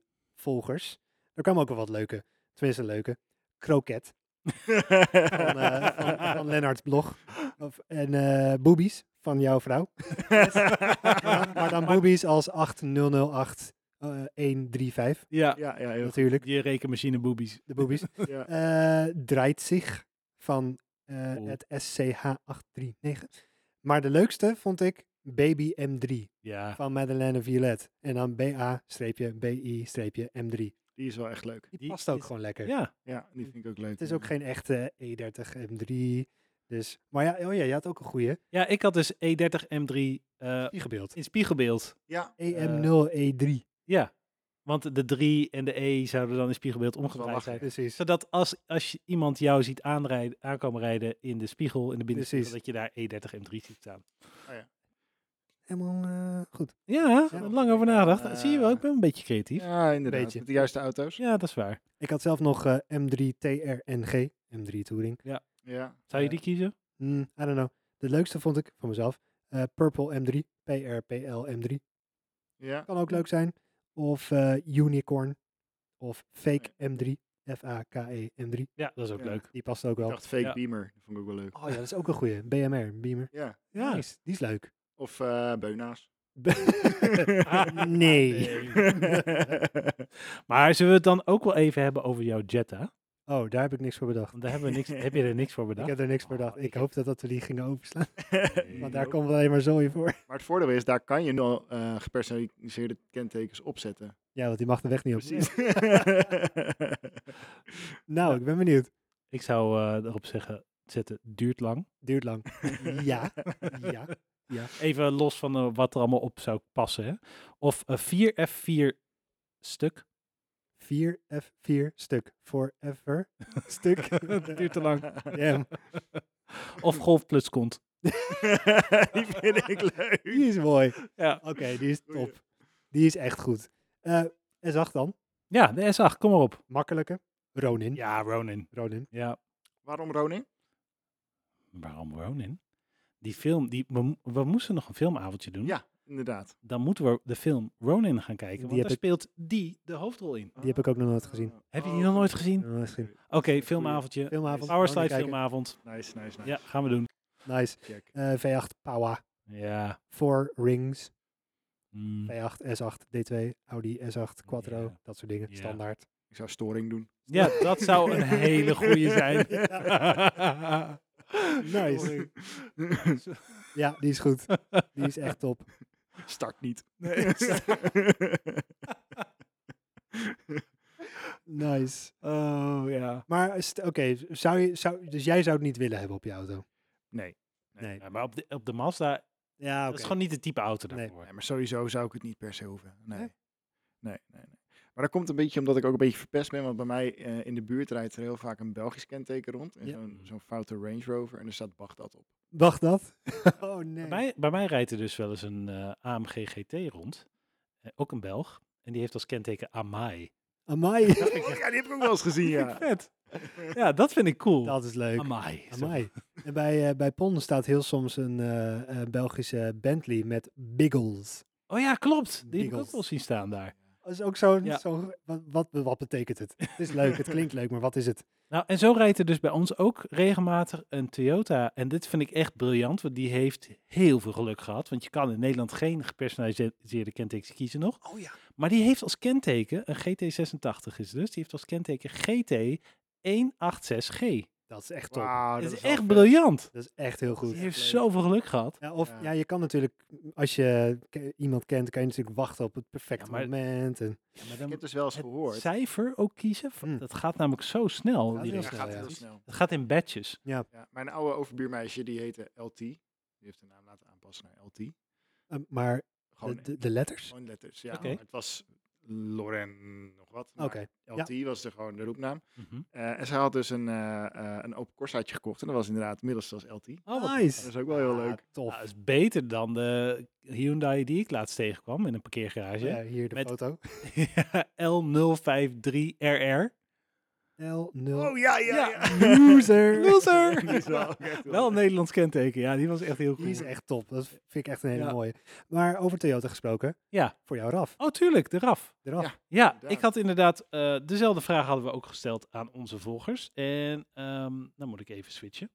[SPEAKER 1] Instagram-volgers. Er kwam ook wel wat leuke, tenminste leuke, kroket van, eh, van, van Lennart's blog. Of, en eh boobies van jouw vrouw. Ja, maar dan boobies als 8008 eh, 135
[SPEAKER 3] ja,
[SPEAKER 2] ja, ja, heel
[SPEAKER 1] natuurlijk,
[SPEAKER 3] die rekenmachine boobies.
[SPEAKER 1] de boobies.
[SPEAKER 2] goed. Ja.
[SPEAKER 1] Eh, draait zich van eh,
[SPEAKER 3] Cool.
[SPEAKER 1] het SCH839. Maar de leukste vond ik Baby M3
[SPEAKER 3] Ja,
[SPEAKER 1] van Madeleine Violet. En dan BA-BI-M3.
[SPEAKER 2] Die is wel echt leuk.
[SPEAKER 1] Die
[SPEAKER 3] Die
[SPEAKER 1] past ook
[SPEAKER 3] is-
[SPEAKER 1] gewoon lekker.
[SPEAKER 3] ja.
[SPEAKER 2] Ja, die vind ik ook leuk.
[SPEAKER 1] Het is ook geen echte E E30 M3. Dus, maar ja, oh ja, je had ook een goede.
[SPEAKER 3] ja, ik had dus E30M3 eh,
[SPEAKER 1] Die gebeeld. E
[SPEAKER 3] in spiegelbeeld.
[SPEAKER 2] Ja,
[SPEAKER 3] Eh,
[SPEAKER 1] EM0E3.
[SPEAKER 3] Ja, want de 3 en de E zouden dan in spiegelbeeld omgedraaid
[SPEAKER 2] lachen.
[SPEAKER 3] zijn.
[SPEAKER 1] Precies.
[SPEAKER 3] Zodat als, als je iemand jou ziet aanrijden, aankomen rijden in de spiegel, in de binnenspiegel,
[SPEAKER 1] Precies.
[SPEAKER 3] dat je daar E E30M3 ziet staan.
[SPEAKER 1] Helemaal eh, goed.
[SPEAKER 3] Ja,
[SPEAKER 1] Ja.
[SPEAKER 3] lang over nagedacht.
[SPEAKER 2] Eh,
[SPEAKER 3] Zie je wel, ik ben een beetje creatief. Ja,
[SPEAKER 2] ja inderdaad.
[SPEAKER 1] Beetje.
[SPEAKER 2] Met de juiste auto's.
[SPEAKER 3] dat is waar.
[SPEAKER 1] Ik had zelf nog eh, M3 TRNG, M3 Touring.
[SPEAKER 2] Ja.
[SPEAKER 3] Zou je die kiezen?
[SPEAKER 1] Mm, I don't know. De leukste vond ik van mezelf eh, Purple M3, PRPL M3.
[SPEAKER 2] Ja.
[SPEAKER 1] Kan ook leuk zijn. Of eh, Unicorn. Of Fake M3, F-A-K-E M3.
[SPEAKER 3] Ja, dat is ook
[SPEAKER 2] Ja.
[SPEAKER 3] leuk.
[SPEAKER 1] E Die past ook
[SPEAKER 2] Ik
[SPEAKER 1] wel.
[SPEAKER 2] dacht fake
[SPEAKER 3] Ja.
[SPEAKER 2] beamer. Dat vond ik ook wel leuk.
[SPEAKER 1] Oh ja, dat is ook een goeie. BMR, Beamer.
[SPEAKER 2] Ja.
[SPEAKER 3] Ja.
[SPEAKER 1] Nice, die is leuk.
[SPEAKER 2] Of eh beuna's.
[SPEAKER 1] nee.
[SPEAKER 3] Maar zullen we het dan ook wel even hebben over jouw Jetta?
[SPEAKER 1] Oh, daar heb ik niks voor bedacht.
[SPEAKER 3] Want daar hebben we niks, heb je er niks voor
[SPEAKER 1] Ik
[SPEAKER 3] bedacht?
[SPEAKER 1] heb er niks voor
[SPEAKER 3] Oh,
[SPEAKER 1] bedacht.
[SPEAKER 3] ik
[SPEAKER 1] Ik hoop dat, dat we die gingen overslaan.
[SPEAKER 3] Nee.
[SPEAKER 1] Want daar
[SPEAKER 2] Nope.
[SPEAKER 1] komt wel alleen maar zooi voor.
[SPEAKER 2] Maar het voordeel is, daar kan je nu al eh, gepersonaliseerde kentekens opzetten.
[SPEAKER 1] Ja, want die mag de weg niet op.
[SPEAKER 2] Precies.
[SPEAKER 1] Nou, ik ben benieuwd.
[SPEAKER 3] Ik zou eh, erop zeggen, zetten duurt lang.
[SPEAKER 1] Duurt lang. Ja, ja.
[SPEAKER 3] Even los van eh, wat er allemaal op zou passen. Hè? Of eh, 4F4 stuk.
[SPEAKER 1] 4F4 stuk. Forever stuk.
[SPEAKER 3] Het duurt te lang.
[SPEAKER 1] Damn,
[SPEAKER 3] Of golf plus kont.
[SPEAKER 2] Die vind ik leuk.
[SPEAKER 1] die is mooi. Oké,
[SPEAKER 3] Ja.
[SPEAKER 1] die is
[SPEAKER 2] Goeie.
[SPEAKER 1] top. Die is echt goed. Eh, S8 dan.
[SPEAKER 3] Ja, de S8, kom maar op.
[SPEAKER 1] Makkelijke. Ronin.
[SPEAKER 3] Ja, Ronin.
[SPEAKER 1] Ronin.
[SPEAKER 3] Ja,
[SPEAKER 2] Waarom Ronin?
[SPEAKER 3] waarom Ronin? Die film, die, we, mo- we moesten nog een filmavondje doen.
[SPEAKER 2] Ja, inderdaad.
[SPEAKER 3] Dan moeten we de film Ronin gaan kijken, want
[SPEAKER 1] Die
[SPEAKER 3] daar
[SPEAKER 1] heb
[SPEAKER 3] speelt die de hoofdrol in.
[SPEAKER 1] Die heb ik ook nog nooit gezien.
[SPEAKER 2] Oh.
[SPEAKER 3] Heb je die nog nooit gezien?
[SPEAKER 1] Nog nooit gezien.
[SPEAKER 3] Oké, filmavondje.
[SPEAKER 1] Filmavond.
[SPEAKER 3] Powerslide
[SPEAKER 1] Gewoon kijken.
[SPEAKER 3] Ah. filmavond.
[SPEAKER 2] Nice, nice, nice.
[SPEAKER 3] Ja, gaan we doen.
[SPEAKER 1] Nice.
[SPEAKER 2] Check.
[SPEAKER 1] Eh, V8 Power.
[SPEAKER 3] Ja.
[SPEAKER 1] 4 Rings.
[SPEAKER 3] mm,
[SPEAKER 1] V8, S8, D2, Audi S8, Quattro.
[SPEAKER 3] Ja.
[SPEAKER 1] Dat soort dingen.
[SPEAKER 3] Ja.
[SPEAKER 1] Standaard.
[SPEAKER 2] Ik zou storing doen.
[SPEAKER 3] Ja, dat zou een hele goede zijn.
[SPEAKER 1] Nice. Ja, die is goed. Die is echt top.
[SPEAKER 2] Start niet.
[SPEAKER 1] Nice.
[SPEAKER 3] oh ja.
[SPEAKER 1] Maar st- oké, zou je, zou, dus jij zou het niet willen hebben op je auto?
[SPEAKER 2] nee.
[SPEAKER 1] Nee.
[SPEAKER 3] Ja, maar op de, op de Mazda,
[SPEAKER 1] Ja, oké.
[SPEAKER 3] dat is gewoon niet het type auto
[SPEAKER 1] Nee.
[SPEAKER 3] daarvoor.
[SPEAKER 2] Nee, maar sowieso zou ik het niet per se hoeven. Nee.
[SPEAKER 1] Nee?
[SPEAKER 2] Nee, nee, nee. Maar dat komt een beetje omdat ik ook een beetje verpest ben. Want bij mij eh, in de buurt rijdt er heel vaak een Belgisch kenteken rond. En
[SPEAKER 1] Ja.
[SPEAKER 2] zo'n, zo'n foute Range Rover. En er staat Bagdad op.
[SPEAKER 1] Wacht dat? Oh nee.
[SPEAKER 3] Bij, mij, bij mij rijdt er dus wel eens een eh, AMG GT rond. Eh, ook een Belg. En die heeft als kenteken Amai.
[SPEAKER 1] Amai.
[SPEAKER 2] Ja, die heb ik ook wel eens gezien, ja.
[SPEAKER 3] Vet. Ja, dat vind ik cool.
[SPEAKER 1] Dat is leuk.
[SPEAKER 3] Amai. Zo.
[SPEAKER 1] Amai. En bij, eh, bij Pon staat heel soms een eh, eh, Belgische Bentley met Biggles.
[SPEAKER 3] Oh ja, klopt. Die heb ik
[SPEAKER 1] Biggles.
[SPEAKER 3] ook wel zien staan daar.
[SPEAKER 1] Dat is ook zo'n...
[SPEAKER 3] Ja.
[SPEAKER 1] zo'n- wat, wat, wat betekent het? Het is leuk, het klinkt leuk, maar wat is het?
[SPEAKER 3] Nou, en zo rijdt er dus bij ons ook regelmatig een Toyota. En dit vind ik echt briljant, want die heeft heel veel geluk gehad. Want je kan in Nederland geen gepersonaliseerde kentekens kiezen nog.
[SPEAKER 1] Oh ja.
[SPEAKER 3] Maar die heeft als kenteken, een GT86 is het dus, die heeft als kenteken GT186G.
[SPEAKER 1] Dat is echt top.
[SPEAKER 2] Wauw,
[SPEAKER 3] dat is
[SPEAKER 2] wel
[SPEAKER 3] echt
[SPEAKER 2] vet.
[SPEAKER 3] briljant.
[SPEAKER 1] Dat is echt heel goed.
[SPEAKER 3] Die heeft
[SPEAKER 2] leuk.
[SPEAKER 3] zoveel geluk gehad.
[SPEAKER 1] Ja, of
[SPEAKER 2] Ja.
[SPEAKER 1] ja. je kan natuurlijk, als je ke- iemand kent, kan je natuurlijk wachten op het perfecte
[SPEAKER 3] Ja, maar-
[SPEAKER 1] moment. En,
[SPEAKER 3] maar
[SPEAKER 2] Ik
[SPEAKER 3] dan
[SPEAKER 2] heb dus wel eens gehoord.
[SPEAKER 3] het cijfer ook kiezen, v-
[SPEAKER 1] Hmm.
[SPEAKER 3] dat gaat namelijk zo snel.
[SPEAKER 1] Gaat
[SPEAKER 3] die
[SPEAKER 1] heel
[SPEAKER 2] Ja,
[SPEAKER 3] regel.
[SPEAKER 1] snel,
[SPEAKER 2] gaat
[SPEAKER 1] ja.
[SPEAKER 2] heel snel.
[SPEAKER 3] Het gaat in batches.
[SPEAKER 2] Ja, mijn oude overbuurmeisje, die heette LT. Die heeft de naam laten aanpassen naar LT.
[SPEAKER 1] eh, maar
[SPEAKER 2] Gewoon,
[SPEAKER 1] de, de, de letters?
[SPEAKER 2] gewoon letters, ja.
[SPEAKER 3] Oké.
[SPEAKER 2] maar Het was Loren nog wat.
[SPEAKER 1] Oké.
[SPEAKER 2] maar LT was de, gewoon de roepnaam.
[SPEAKER 3] Mhm.
[SPEAKER 2] Eh, en ze had dus een, eh eh een open corsaatje gekocht. En dat was inderdaad middels zoals LT.
[SPEAKER 3] Oh, wat
[SPEAKER 1] nice.
[SPEAKER 2] Dat is ook wel heel
[SPEAKER 1] Ah,
[SPEAKER 2] leuk.
[SPEAKER 1] tof.
[SPEAKER 3] Nou, dat is beter dan de Hyundai die ik laatst tegenkwam in een parkeergarage.
[SPEAKER 1] Ja, hier de
[SPEAKER 3] Met-
[SPEAKER 1] foto.
[SPEAKER 3] L053RR.
[SPEAKER 1] L0.
[SPEAKER 2] Oh ja, ja, ja.
[SPEAKER 1] Loser.
[SPEAKER 3] Loser!
[SPEAKER 2] Die is wel, ook echt heel
[SPEAKER 3] Wel een
[SPEAKER 2] leuk.
[SPEAKER 3] Nederlands kenteken, ja, die was echt heel
[SPEAKER 1] Die is
[SPEAKER 3] cool.
[SPEAKER 1] echt top. Dat vind ik echt een hele
[SPEAKER 3] Ja.
[SPEAKER 1] mooie. Maar over Toyota gesproken.
[SPEAKER 3] Ja.
[SPEAKER 1] Voor jou RAF.
[SPEAKER 3] Oh, tuurlijk, de RAF.
[SPEAKER 1] De RAF.
[SPEAKER 2] Ja.
[SPEAKER 3] Ja,
[SPEAKER 2] Inderdaad.
[SPEAKER 3] ik had inderdaad eh, dezelfde vraag hadden we ook gesteld aan onze volgers. En ehm dan moet ik even switchen.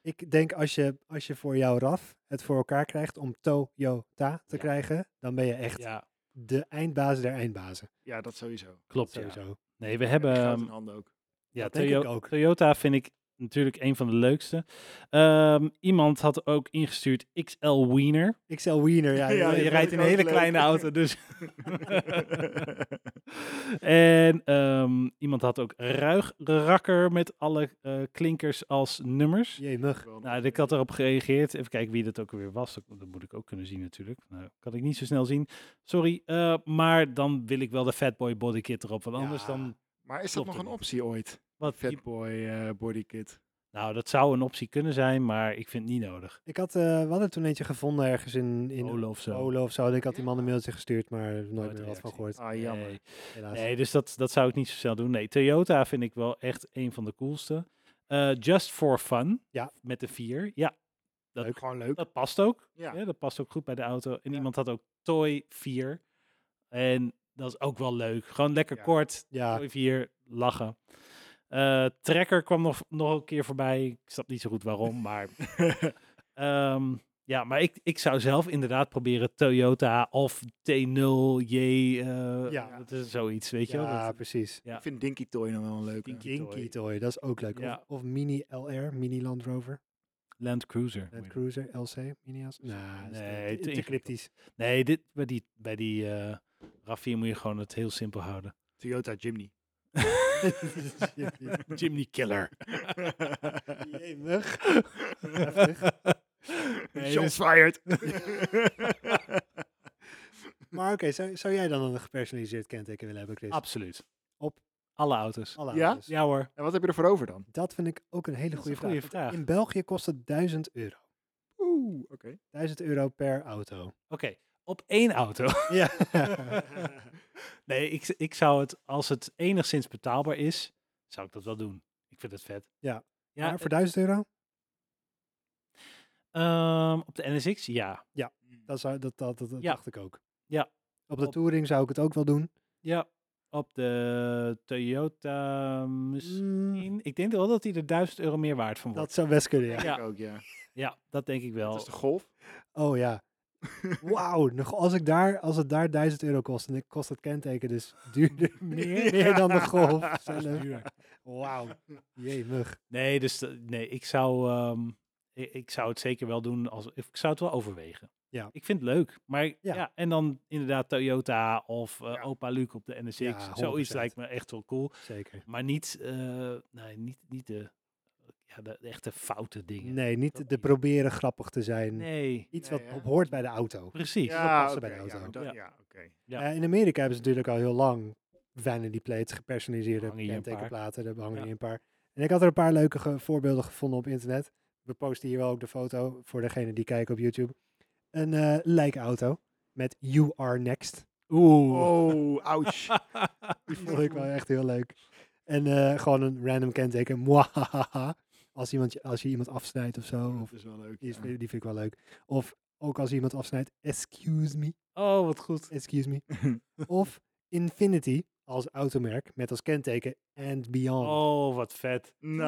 [SPEAKER 1] Ik denk als je, als je voor jouw RAF het voor elkaar krijgt om Toyota te
[SPEAKER 3] Ja.
[SPEAKER 1] krijgen, dan ben je echt
[SPEAKER 3] Ja,
[SPEAKER 1] de eindbazen der eindbazen.
[SPEAKER 2] Ja, dat sowieso.
[SPEAKER 3] klopt. ja.
[SPEAKER 1] Sowieso.
[SPEAKER 3] Nee, we hebben.
[SPEAKER 2] Goud
[SPEAKER 3] ehm,
[SPEAKER 2] in handen ook.
[SPEAKER 3] Ja,
[SPEAKER 1] Dat denk ik
[SPEAKER 3] Toyo-
[SPEAKER 1] ook.
[SPEAKER 3] Toyota vind ik natuurlijk een van de leukste. Ehm, iemand had ook ingestuurd XL Wiener.
[SPEAKER 1] XL Wiener. Ja,
[SPEAKER 2] Ja,
[SPEAKER 1] ja,
[SPEAKER 2] die
[SPEAKER 1] ja.
[SPEAKER 2] vond
[SPEAKER 3] je rijdt
[SPEAKER 2] ik
[SPEAKER 3] in een
[SPEAKER 2] ook
[SPEAKER 3] hele
[SPEAKER 2] leuk.
[SPEAKER 3] kleine auto, dus En ehm, iemand had ook ruigrakker met alle eh, klinkers als nummers.
[SPEAKER 1] Jee, mug.
[SPEAKER 3] Nou, ik had erop gereageerd. Even kijken wie dat ook weer was. Dat, dat moet ik ook kunnen zien natuurlijk. Nou, kan ik niet zo snel zien. Sorry, eh, maar dan wil ik wel de Fatboy Bodykit erop. Want anders
[SPEAKER 1] Ja.
[SPEAKER 3] dan...
[SPEAKER 2] Maar is dat
[SPEAKER 3] Klopt
[SPEAKER 2] nog
[SPEAKER 3] het
[SPEAKER 2] een
[SPEAKER 3] niet.
[SPEAKER 2] optie ooit?
[SPEAKER 3] Wat,
[SPEAKER 2] Fatboy eh bodykit.
[SPEAKER 3] nou, dat zou een optie kunnen zijn, maar ik vind het niet nodig.
[SPEAKER 1] Ik had, eh we hadden toen eentje gevonden ergens in, in
[SPEAKER 3] Olo of zo.
[SPEAKER 1] Polen of zo. En ik had die man een
[SPEAKER 2] Ja.
[SPEAKER 1] mailtje gestuurd, maar nooit meer
[SPEAKER 3] Nooit
[SPEAKER 1] wat van
[SPEAKER 3] reactie.
[SPEAKER 1] gehoord.
[SPEAKER 2] Ah, jammer.
[SPEAKER 3] Nee.
[SPEAKER 1] Helaas.
[SPEAKER 3] Nee, dus dat, dat zou ik niet zo snel doen. Nee, Toyota vind ik wel echt een van de coolste. Eh, Just for Fun.
[SPEAKER 1] Ja.
[SPEAKER 3] Met de vier. Ja, dat-
[SPEAKER 1] Leuk.
[SPEAKER 2] Gewoon leuk.
[SPEAKER 3] dat past ook.
[SPEAKER 2] Ja.
[SPEAKER 3] Ja, dat past ook goed bij de auto. En
[SPEAKER 2] Ja.
[SPEAKER 3] iemand had ook Toy 4. En dat is ook wel leuk. Gewoon lekker
[SPEAKER 2] Ja.
[SPEAKER 3] kort.
[SPEAKER 1] Ja,
[SPEAKER 3] Toy 4, lachen. Eh Trekker kwam nog, nog een keer voorbij. Ik snap niet zo goed waarom, maar... ehm, ja, maar ik, ik zou zelf inderdaad proberen Toyota of T0J. eh,
[SPEAKER 1] Ja.
[SPEAKER 3] Dat is zoiets, weet je wel.
[SPEAKER 1] ja
[SPEAKER 3] Dat-
[SPEAKER 1] precies.
[SPEAKER 3] Ja.
[SPEAKER 2] Ik vind Dinky Toy nog wel een leuke.
[SPEAKER 3] Dinky.
[SPEAKER 1] Dinky Toy, dat is ook leuk. Of-
[SPEAKER 3] Ja.
[SPEAKER 1] Of, Mini LR, Mini Land Rover,
[SPEAKER 3] Land Cruiser.
[SPEAKER 1] Land Cruiser, LC, Mini als.
[SPEAKER 3] Nee,
[SPEAKER 1] nee,
[SPEAKER 3] te
[SPEAKER 1] te, te
[SPEAKER 3] ingewikkeld.
[SPEAKER 1] cryptisch.
[SPEAKER 3] Nee, dit, bij die, bij die eh, RAV4 moet je gewoon het heel simpel houden.
[SPEAKER 2] Toyota Jimny.
[SPEAKER 3] Jimny Killer.
[SPEAKER 1] Jemig.
[SPEAKER 3] Nee,
[SPEAKER 2] Shots
[SPEAKER 3] dus-
[SPEAKER 2] fired.
[SPEAKER 1] Maar oké, zou, zou jij dan een gepersonaliseerd kenteken willen hebben, Chris?
[SPEAKER 3] Absoluut.
[SPEAKER 1] Op?
[SPEAKER 3] alle auto's.
[SPEAKER 1] Alle
[SPEAKER 2] Ja?
[SPEAKER 1] auto's.
[SPEAKER 3] Ja hoor.
[SPEAKER 2] en wat heb je ervoor over dan?
[SPEAKER 1] Dat vind ik ook een hele
[SPEAKER 3] Dat is
[SPEAKER 1] goede
[SPEAKER 3] een
[SPEAKER 1] vraag.
[SPEAKER 3] goede
[SPEAKER 1] want
[SPEAKER 3] vraag.
[SPEAKER 1] In België kost het 1000 euro.
[SPEAKER 2] Oeh, oké.
[SPEAKER 1] 1000 euro per auto.
[SPEAKER 3] Oké, op één auto.
[SPEAKER 1] Ja.
[SPEAKER 3] Nee, ik, ik zou het, als het enigszins betaalbaar is, zou ik dat wel doen. Ik vind het vet.
[SPEAKER 1] Ja.
[SPEAKER 3] Ja, eh,
[SPEAKER 1] maar voor 1000 euro,
[SPEAKER 3] ehm, op de NSX, ja.
[SPEAKER 1] dat, zou, dat, dat, dat, dat
[SPEAKER 3] Ja.
[SPEAKER 1] dacht ik ook.
[SPEAKER 3] Ja.
[SPEAKER 1] Op de
[SPEAKER 3] Op-
[SPEAKER 1] Touring zou ik het ook wel doen.
[SPEAKER 3] Ja, op de Toyota Dus misschien.
[SPEAKER 1] Mm,
[SPEAKER 3] Ik denk wel dat die er 1000 euro meer waard van wordt.
[SPEAKER 1] dat zou best kunnen, ja.
[SPEAKER 3] Ja.
[SPEAKER 2] Ik ook, ja.
[SPEAKER 3] Ja, dat denk ik wel.
[SPEAKER 2] Dat is de golf.
[SPEAKER 1] Oh ja. Wauw, nog- als, ik daar, als het daar 1000 euro kost, dan kost het kenteken dus duurder meer, meer dan de golf zelf. Wauw, jemig.
[SPEAKER 3] Nee, dus de- nee, ik zou, ehm, i- ik, zou het zeker wel doen. Als, ik zou het wel overwegen.
[SPEAKER 1] Ja.
[SPEAKER 3] Ik vind het leuk. Maar ja.
[SPEAKER 1] Ja.
[SPEAKER 3] en dan inderdag Toyota of eh,
[SPEAKER 2] Ja.
[SPEAKER 3] Opa Luke op de NSX.
[SPEAKER 1] Ja,
[SPEAKER 3] Zoiets
[SPEAKER 1] 100%.
[SPEAKER 3] lijkt me echt wel cool.
[SPEAKER 1] Zeker.
[SPEAKER 3] Maar niet, eh, nee, niet, niet de, ja, de, de echte foute dingen.
[SPEAKER 1] Nee,
[SPEAKER 3] dat
[SPEAKER 1] niet de
[SPEAKER 3] niet.
[SPEAKER 1] proberen grappig te zijn.
[SPEAKER 3] Nee,
[SPEAKER 1] Iets
[SPEAKER 2] Nee,
[SPEAKER 1] wat
[SPEAKER 2] hè?
[SPEAKER 1] hoort bij de auto.
[SPEAKER 3] precies.
[SPEAKER 1] wel passen bij
[SPEAKER 2] oké,
[SPEAKER 1] de auto.
[SPEAKER 2] Ja, maar dat-
[SPEAKER 3] Ja.
[SPEAKER 2] ja, oké.
[SPEAKER 3] Ja.
[SPEAKER 1] Eh, in Amerika hebben ze natuurlijk al heel lang vanity plates, gepersonaliseerde
[SPEAKER 3] Hangen hier een paar.
[SPEAKER 1] kentekenplaten. Daar hangen
[SPEAKER 3] Ja.
[SPEAKER 1] hier een paar. En ik had er een paar leuke ge- voorbeelden gevonden op internet. We posten hier wel ook de foto voor degene die kijken op YouTube. Een eh lijkauto met You Are Next.
[SPEAKER 3] Oeh.
[SPEAKER 2] Oh, ouch.
[SPEAKER 1] Die vond ik wel echt heel leuk. En eh, gewoon een random kenteken. Mwahaha. Als, iemand, je- als je iemand afsnijdt of zo. Of,
[SPEAKER 2] Dat is wel leuk.
[SPEAKER 1] die, is-
[SPEAKER 2] ja.
[SPEAKER 1] die vind ik wel leuk. Of ook als iemand afsnijdt. Excuse me.
[SPEAKER 3] Oh, wat goed.
[SPEAKER 1] Excuse me. of Infinity als automerk met als kenteken and beyond.
[SPEAKER 3] Oh, wat vet.
[SPEAKER 2] Nice,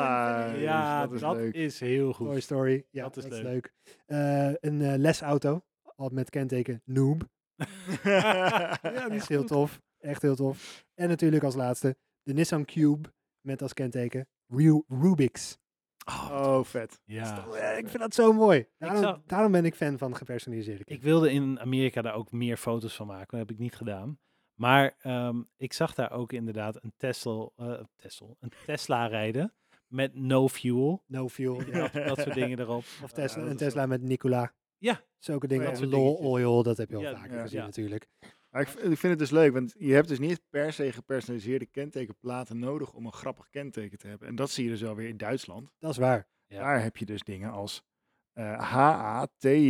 [SPEAKER 3] ja,
[SPEAKER 2] dat is leuk.
[SPEAKER 3] heel goed.
[SPEAKER 1] Toy Story. Ja, dat is leuk. Eh, een eh, lesauto al met kenteken noob.
[SPEAKER 3] Ja, die
[SPEAKER 1] Echt
[SPEAKER 3] is
[SPEAKER 1] heel
[SPEAKER 3] goed.
[SPEAKER 1] tof. Echt heel tof. En natuurlijk als laatste de Nissan Cube met als kenteken Ru- Rubik's.
[SPEAKER 3] Oh,
[SPEAKER 2] Oh, vet.
[SPEAKER 3] ja.
[SPEAKER 1] Eh, ik vind dat zo mooi. Daarom,
[SPEAKER 3] zou-
[SPEAKER 1] daarom ben ik fan van gepersonaliseerde
[SPEAKER 3] Ik
[SPEAKER 1] kenteken.
[SPEAKER 3] wilde in Amerika daar ook meer foto's van maken. Dat heb ik niet gedaan. Maar ehm, ik zag daar ook inderdaad een Tesla, eh, Tesla, een Tesla rijden met no fuel.
[SPEAKER 1] No Fuel. ja.
[SPEAKER 3] Dat, dat soort dingen erop.
[SPEAKER 1] Of
[SPEAKER 2] Ja,
[SPEAKER 1] Tesla,
[SPEAKER 2] dat
[SPEAKER 1] een
[SPEAKER 2] is wel-
[SPEAKER 1] Tesla met Nicola.
[SPEAKER 3] Ja.
[SPEAKER 1] Zulke dingen.
[SPEAKER 2] ja,
[SPEAKER 1] als
[SPEAKER 3] dat
[SPEAKER 1] Lol
[SPEAKER 3] dingetje.
[SPEAKER 1] Oil, dat heb je al
[SPEAKER 3] Ja,
[SPEAKER 1] vaker
[SPEAKER 2] ja.
[SPEAKER 1] gezien
[SPEAKER 3] Ja.
[SPEAKER 1] natuurlijk.
[SPEAKER 2] Maar ik, v- ik vind het dus leuk, want je hebt dus niet per se gepersonaliseerde kentekenplaten nodig om een grappig kenteken te hebben. En dat zie je dus wel weer in Duitsland.
[SPEAKER 1] Dat is waar.
[SPEAKER 3] Ja.
[SPEAKER 2] Daar heb je dus dingen als eh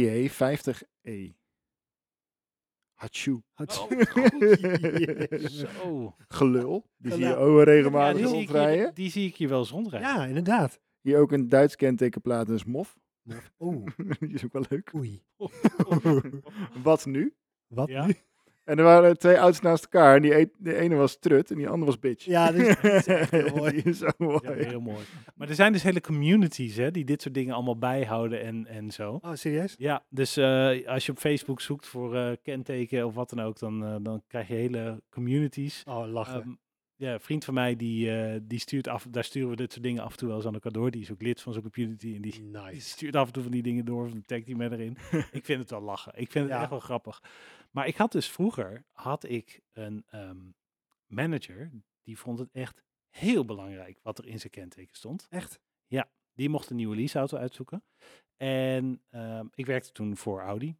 [SPEAKER 2] HATJ50E. Hachu.
[SPEAKER 1] Had-
[SPEAKER 3] Oh, goed. Zo.
[SPEAKER 2] Gelul. Die zie je
[SPEAKER 1] Gelul.
[SPEAKER 2] ook wel
[SPEAKER 3] Ja,
[SPEAKER 2] regelmatig
[SPEAKER 3] die, zie ik hier,
[SPEAKER 2] rondrijden.
[SPEAKER 3] die zie ik hier wel eens rondrijden.
[SPEAKER 1] ja, inderdaad.
[SPEAKER 2] Hier ook een Duits kentekenplaat, dus mof.
[SPEAKER 1] Oeh,
[SPEAKER 2] die is ook wel leuk.
[SPEAKER 1] oei.
[SPEAKER 2] Wat nu?
[SPEAKER 1] Wat
[SPEAKER 3] Ja.
[SPEAKER 1] nu?
[SPEAKER 2] En er waren twee auto's naast elkaar. En die e- de ene was trut en die andere was bitch.
[SPEAKER 1] Ja, dat is- dat is echt heel mooi.
[SPEAKER 2] Die is zo mooi.
[SPEAKER 3] Ja, heel mooi. Maar er zijn dus hele communities hè, die dit soort dingen allemaal bijhouden en, en zo.
[SPEAKER 1] Oh, serieus?
[SPEAKER 3] Ja, dus eh, als je op Facebook zoekt voor eh, kenteken of wat dan ook, dan, eh, dan krijg je hele communities.
[SPEAKER 1] Oh, lachen.
[SPEAKER 3] Ehm, ja, een vriend van mij, die, eh, die stuurt af, daar sturen we dit soort dingen af en toe wel eens aan elkaar door. Die is ook lid van zo'n community en
[SPEAKER 1] Ehm,
[SPEAKER 3] die, die
[SPEAKER 1] nice.
[SPEAKER 3] stuurt af en toe van die dingen door of dan tagt die mij erin. ik vind het wel lachen. Ik vind het
[SPEAKER 1] Ja.
[SPEAKER 3] echt wel grappig. Maar ik had dus vroeger, had ik een ehm, manager, die vond het echt heel belangrijk wat er in zijn kenteken stond.
[SPEAKER 1] Echt?
[SPEAKER 3] Die mocht een nieuwe leaseauto uitzoeken. En ehm, ik werkte toen voor Audi.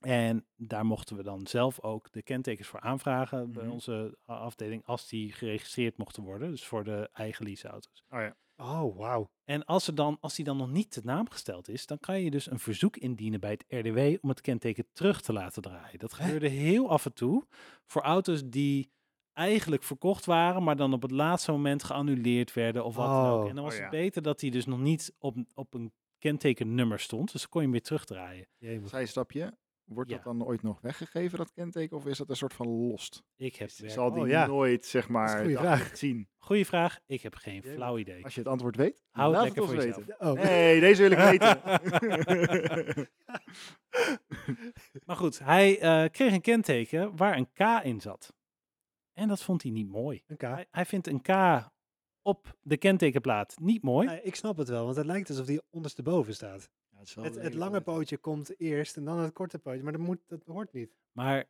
[SPEAKER 3] En daar mochten we dan zelf ook de kentekens voor aanvragen bij
[SPEAKER 2] Mhm.
[SPEAKER 3] onze a- afdeling als die geregistreerd mochten worden. Dus voor de eigen leaseauto's.
[SPEAKER 2] Oh ja.
[SPEAKER 1] Oh, wauw.
[SPEAKER 3] En als, er dan, als die dan nog niet te naam gesteld is, dan kan je dus een verzoek indienen bij het RDW om het kenteken terug te laten draaien. Dat gebeurde heel af en toe voor auto's die eigenlijk verkocht waren, maar dan op het laatste moment geannuleerd werden of wat dan ook.
[SPEAKER 1] Oh.
[SPEAKER 3] En dan was
[SPEAKER 2] Oh
[SPEAKER 3] het
[SPEAKER 2] ja.
[SPEAKER 3] beter dat die dus nog niet op, op een kentekennummer stond, dus dan kon je hem weer terugdraaien.
[SPEAKER 1] Jemig.
[SPEAKER 2] Zijstapje. Wordt dat
[SPEAKER 3] Ja.
[SPEAKER 2] dan ooit nog weggegeven, dat kenteken? Of is dat een soort van lost?
[SPEAKER 3] Ik heb
[SPEAKER 2] Dus
[SPEAKER 3] werk-
[SPEAKER 2] zal die
[SPEAKER 1] Oh, ja.
[SPEAKER 2] nooit, zeg
[SPEAKER 1] Dat is een
[SPEAKER 2] maar,
[SPEAKER 1] goede
[SPEAKER 2] dat
[SPEAKER 1] vraag.
[SPEAKER 2] zien?
[SPEAKER 3] Goeie vraag. Ik heb geen
[SPEAKER 1] Jee,
[SPEAKER 3] flauw idee.
[SPEAKER 2] Als je het antwoord weet,
[SPEAKER 3] Hou het
[SPEAKER 2] laat
[SPEAKER 3] lekker
[SPEAKER 2] ons
[SPEAKER 3] voor
[SPEAKER 2] weten.
[SPEAKER 3] jezelf.
[SPEAKER 1] Oh,
[SPEAKER 2] Nee, deze wil ik weten.
[SPEAKER 3] Maar goed, hij eh, kreeg een kenteken waar een K in zat. En dat vond hij niet mooi.
[SPEAKER 1] een K.
[SPEAKER 3] Hij, hij vindt een K op de kentekenplaat niet mooi.
[SPEAKER 1] Nou, ik snap het wel, want het lijkt alsof die ondersteboven staat.
[SPEAKER 2] Ja, is wel
[SPEAKER 1] Het, het
[SPEAKER 2] redelijk
[SPEAKER 1] lange
[SPEAKER 2] wel-
[SPEAKER 1] pootje komt eerst en dan het korte pootje, maar dat, moet, dat hoort niet.
[SPEAKER 3] Maar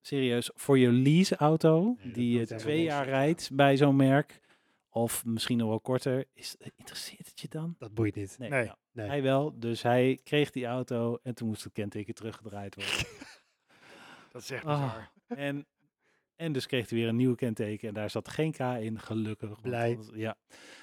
[SPEAKER 3] serieus, voor je leaseauto,
[SPEAKER 1] dat
[SPEAKER 3] die je
[SPEAKER 1] moet helemaal
[SPEAKER 3] twee jaar
[SPEAKER 1] onzin
[SPEAKER 3] rijdt bij zo'n merk, of misschien nog wel korter, is, interesseert het je dan?
[SPEAKER 1] Dat boeit niet.
[SPEAKER 3] Nee.
[SPEAKER 2] Nee,
[SPEAKER 3] nou,
[SPEAKER 1] nee.
[SPEAKER 3] Hij wel, dus hij kreeg die auto en toen moest het kenteken teruggedraaid worden.
[SPEAKER 2] Dat is echt
[SPEAKER 3] Ah.
[SPEAKER 2] bizar.
[SPEAKER 3] en, en dus kreeg hij weer een nieuw kenteken en daar zat geen K in, gelukkig. want
[SPEAKER 1] Blij.
[SPEAKER 3] anders- Ja.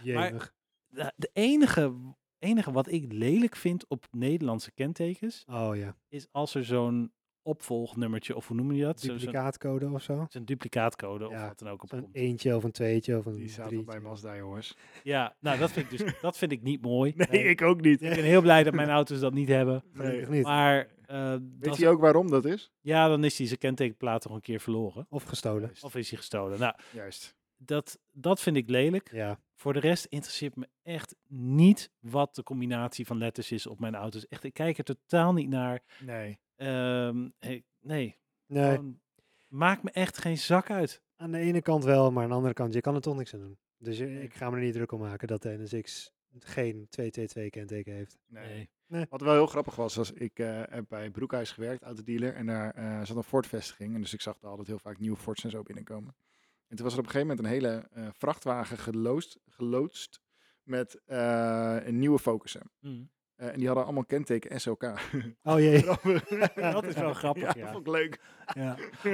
[SPEAKER 1] Jemig.
[SPEAKER 3] De, de enige, enige wat ik lelijk vind op Nederlandse kentekens,
[SPEAKER 1] oh ja.
[SPEAKER 3] is als er zo'n opvolgnummertje, of hoe noem je dat? Zo- Zo'n
[SPEAKER 1] Duplicaatcode of zo.
[SPEAKER 3] zo'n duplicaatcode
[SPEAKER 1] Ja,
[SPEAKER 3] of wat dan ook op
[SPEAKER 1] Zo'n
[SPEAKER 3] komt.
[SPEAKER 2] E-
[SPEAKER 1] eentje of een tweetje of een
[SPEAKER 2] Die zaten bij
[SPEAKER 1] drietje.
[SPEAKER 2] Mazda, jongens.
[SPEAKER 3] Ja, nou dat vind ik dus dat vind ik niet mooi.
[SPEAKER 2] Nee, ik ook niet.
[SPEAKER 3] Ik ben heel blij dat mijn auto's dat niet hebben.
[SPEAKER 1] Gelukkig niet.
[SPEAKER 3] Maar eh, dat
[SPEAKER 2] Weet
[SPEAKER 3] is-
[SPEAKER 2] je ook waarom dat is?
[SPEAKER 3] ja, dan is hij zijn kentekenplaat nog een keer verloren.
[SPEAKER 1] Of gestolen.
[SPEAKER 2] Juist.
[SPEAKER 3] Of is hij gestolen. Nou,
[SPEAKER 2] Juist.
[SPEAKER 3] dat, dat vind ik lelijk.
[SPEAKER 1] Ja,
[SPEAKER 3] Voor de rest interesseert me echt niet wat de combinatie van letters is op mijn auto's. Echt, ik kijk er totaal niet naar.
[SPEAKER 2] Nee.
[SPEAKER 3] Ehm, ik- nee,
[SPEAKER 1] nee.
[SPEAKER 3] gewoon, maakt me echt geen zak uit.
[SPEAKER 1] Aan de ene kant wel, maar aan de andere kant, je kan er toch niks aan doen. Dus je- ik ga me er niet druk om maken dat de NSX geen 222 kenteken heeft.
[SPEAKER 2] nee.
[SPEAKER 3] Nee.
[SPEAKER 2] Wat wel heel grappig was, was ik eh, heb bij Broekhuis gewerkt, autodealer. En daar eh, zat een Ford-vestiging. En dus ik zag daar altijd heel vaak nieuwe Fords en zo binnenkomen. En toen was er op een gegeven moment een hele eh, vrachtwagen geloosd, geloodst met eh, een nieuwe Focussen.
[SPEAKER 3] Mm.
[SPEAKER 2] Eh, en die hadden allemaal kenteken SOK.
[SPEAKER 1] Oh jee.
[SPEAKER 3] Dat is wel grappig,
[SPEAKER 2] Ja,
[SPEAKER 3] ja.
[SPEAKER 2] dat vond ik leuk.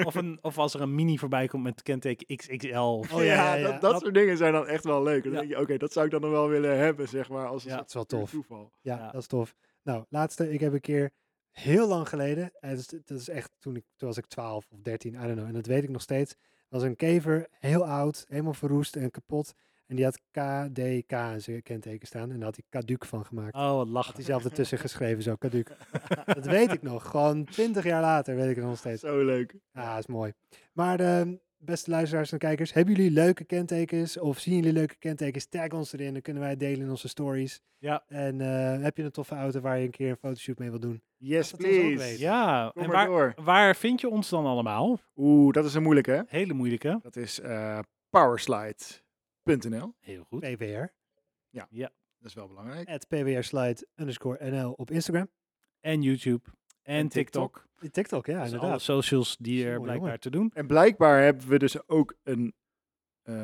[SPEAKER 3] Of, een, of als er een mini voorbij komt met kenteken XXL. of-
[SPEAKER 1] Oh ja, ja, ja.
[SPEAKER 2] Dat, dat
[SPEAKER 3] Dat-
[SPEAKER 2] soort dingen zijn dan echt wel leuk. Dan
[SPEAKER 3] Ja.
[SPEAKER 2] denk je, oké, dat zou ik dan nog wel willen hebben, zeg maar, als een
[SPEAKER 3] Ja.
[SPEAKER 1] Dat
[SPEAKER 2] soort
[SPEAKER 1] is wel
[SPEAKER 2] puur
[SPEAKER 1] tof.
[SPEAKER 2] toeval.
[SPEAKER 1] Ja,
[SPEAKER 3] Ja.
[SPEAKER 1] dat is tof. Nou, laatste. Ik heb een keer heel lang geleden, eh, dat is, dat is echt toen ik, toen was ik 12 of 13, I don't know, en dat weet ik nog steeds, was een kever, heel oud, helemaal verroest en kapot. En die had KDK in zijn kenteken staan en daar had hij Kaduk van gemaakt.
[SPEAKER 3] Oh, wat
[SPEAKER 1] Had
[SPEAKER 3] lachen.
[SPEAKER 1] hij zelf ertussen geschreven, zo Kaduk. dat weet ik nog, gewoon 20 jaar later weet ik het nog steeds.
[SPEAKER 2] Zo leuk.
[SPEAKER 1] Ja, is mooi. Maar ehm, beste luisteraars en kijkers, hebben jullie leuke kentekens of zien jullie leuke kentekens? Tag ons erin, dan kunnen wij het delen in onze stories.
[SPEAKER 3] Ja.
[SPEAKER 1] En eh, heb je een toffe auto waar je een keer een fotoshoot mee wil doen?
[SPEAKER 2] Yes,
[SPEAKER 1] Dat is ook
[SPEAKER 2] please.
[SPEAKER 1] leuk.
[SPEAKER 3] Ja,
[SPEAKER 2] Kom
[SPEAKER 3] en
[SPEAKER 2] maar
[SPEAKER 3] waar,
[SPEAKER 2] door.
[SPEAKER 3] waar vind je ons dan allemaal?
[SPEAKER 2] Oeh, dat is een moeilijke, hè?
[SPEAKER 3] Hele moeilijke.
[SPEAKER 2] Dat is eh, powerslide.nl.
[SPEAKER 3] Heel goed.
[SPEAKER 1] PWR.
[SPEAKER 2] Dat is wel belangrijk.
[SPEAKER 1] At PWRslide underscore NL op Instagram.
[SPEAKER 3] En YouTube. En,
[SPEAKER 2] En TikTok.
[SPEAKER 3] TikTok.
[SPEAKER 1] Die TikTok, ja,
[SPEAKER 3] Dus alle
[SPEAKER 1] inderdaad.
[SPEAKER 3] socials die er
[SPEAKER 1] Jongen,
[SPEAKER 3] blijkbaar
[SPEAKER 1] jongen.
[SPEAKER 3] te doen.
[SPEAKER 2] En blijkbaar hebben we dus ook een eh,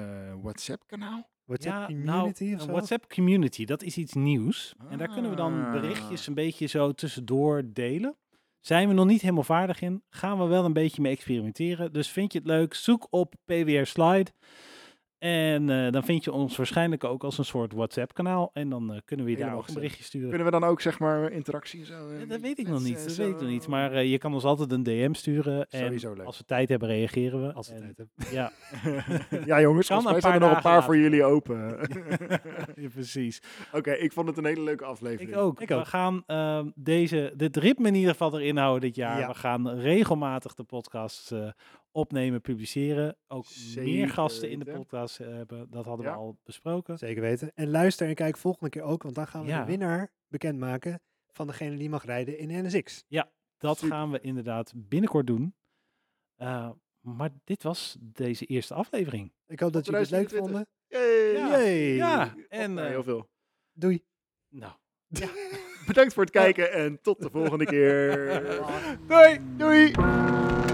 [SPEAKER 2] WhatsApp-kanaal.
[SPEAKER 1] WhatsApp
[SPEAKER 3] Ja,
[SPEAKER 1] community
[SPEAKER 3] nou,
[SPEAKER 1] of
[SPEAKER 3] een
[SPEAKER 1] zo?
[SPEAKER 3] WhatsApp community, dat is iets nieuws. En daar kunnen we dan
[SPEAKER 2] Ah.
[SPEAKER 3] berichtjes een beetje zo tussendoor delen. Zijn we nog niet helemaal vaardig in? Gaan we wel een beetje mee experimenteren. Dus vind je het leuk? Zoek op PWR Slide. En eh, dan vind je ons waarschijnlijk ook als een soort WhatsApp-kanaal. En dan eh, kunnen we je daar
[SPEAKER 2] Helemaal
[SPEAKER 3] ook een berichtje sturen.
[SPEAKER 2] Kunnen we dan ook, zeg maar, interactie en zo? eh,
[SPEAKER 3] Ja, dat weet ik
[SPEAKER 2] met-
[SPEAKER 3] nog niet.
[SPEAKER 2] eh,
[SPEAKER 3] Dat
[SPEAKER 2] zo-
[SPEAKER 3] weet ik nog niet. Maar eh, je kan ons altijd een DM sturen. En
[SPEAKER 2] Sowieso leuk.
[SPEAKER 3] als we tijd hebben, reageren we.
[SPEAKER 1] Als we
[SPEAKER 3] En-
[SPEAKER 1] tijd hebben.
[SPEAKER 3] Ja,
[SPEAKER 2] ja, jongens,
[SPEAKER 3] Kan
[SPEAKER 2] volgens mij
[SPEAKER 3] een
[SPEAKER 2] zijn er
[SPEAKER 3] paar
[SPEAKER 2] nog een paar
[SPEAKER 3] dagen
[SPEAKER 2] voor jullie open.
[SPEAKER 3] ja, precies.
[SPEAKER 2] Oké, ik vond het een hele leuke aflevering.
[SPEAKER 3] Ik ook.
[SPEAKER 1] Ik
[SPEAKER 3] we
[SPEAKER 1] ook.
[SPEAKER 3] gaan ehm, deze, dit ritme in ieder geval erin houden dit jaar.
[SPEAKER 1] Ja.
[SPEAKER 3] We gaan regelmatig de podcast eh, opnemen, publiceren. Ook meer
[SPEAKER 2] Zeker
[SPEAKER 3] gasten in de
[SPEAKER 2] weten.
[SPEAKER 3] podcast eh, hebben. Dat hadden
[SPEAKER 2] Ja.
[SPEAKER 3] we al besproken.
[SPEAKER 1] Zeker weten. En luister en kijk volgende keer ook, want dan gaan we
[SPEAKER 3] Ja.
[SPEAKER 1] de winnaar bekendmaken van degene die mag rijden in NSX.
[SPEAKER 3] Dat
[SPEAKER 2] Super.
[SPEAKER 3] gaan we inderdaad binnenkort doen. Eh, maar dit was deze eerste aflevering.
[SPEAKER 1] Ik hoop dat jullie het leuk
[SPEAKER 2] 2023.
[SPEAKER 1] vonden.
[SPEAKER 2] Yay.
[SPEAKER 3] Ja,
[SPEAKER 1] Yay.
[SPEAKER 3] ja,
[SPEAKER 2] Op
[SPEAKER 3] en,
[SPEAKER 2] naar
[SPEAKER 3] eh,
[SPEAKER 2] heel veel.
[SPEAKER 1] Doei.
[SPEAKER 3] Nou,
[SPEAKER 2] Bedankt voor het kijken en tot de volgende keer.
[SPEAKER 1] Dag.
[SPEAKER 2] Doei! Doei!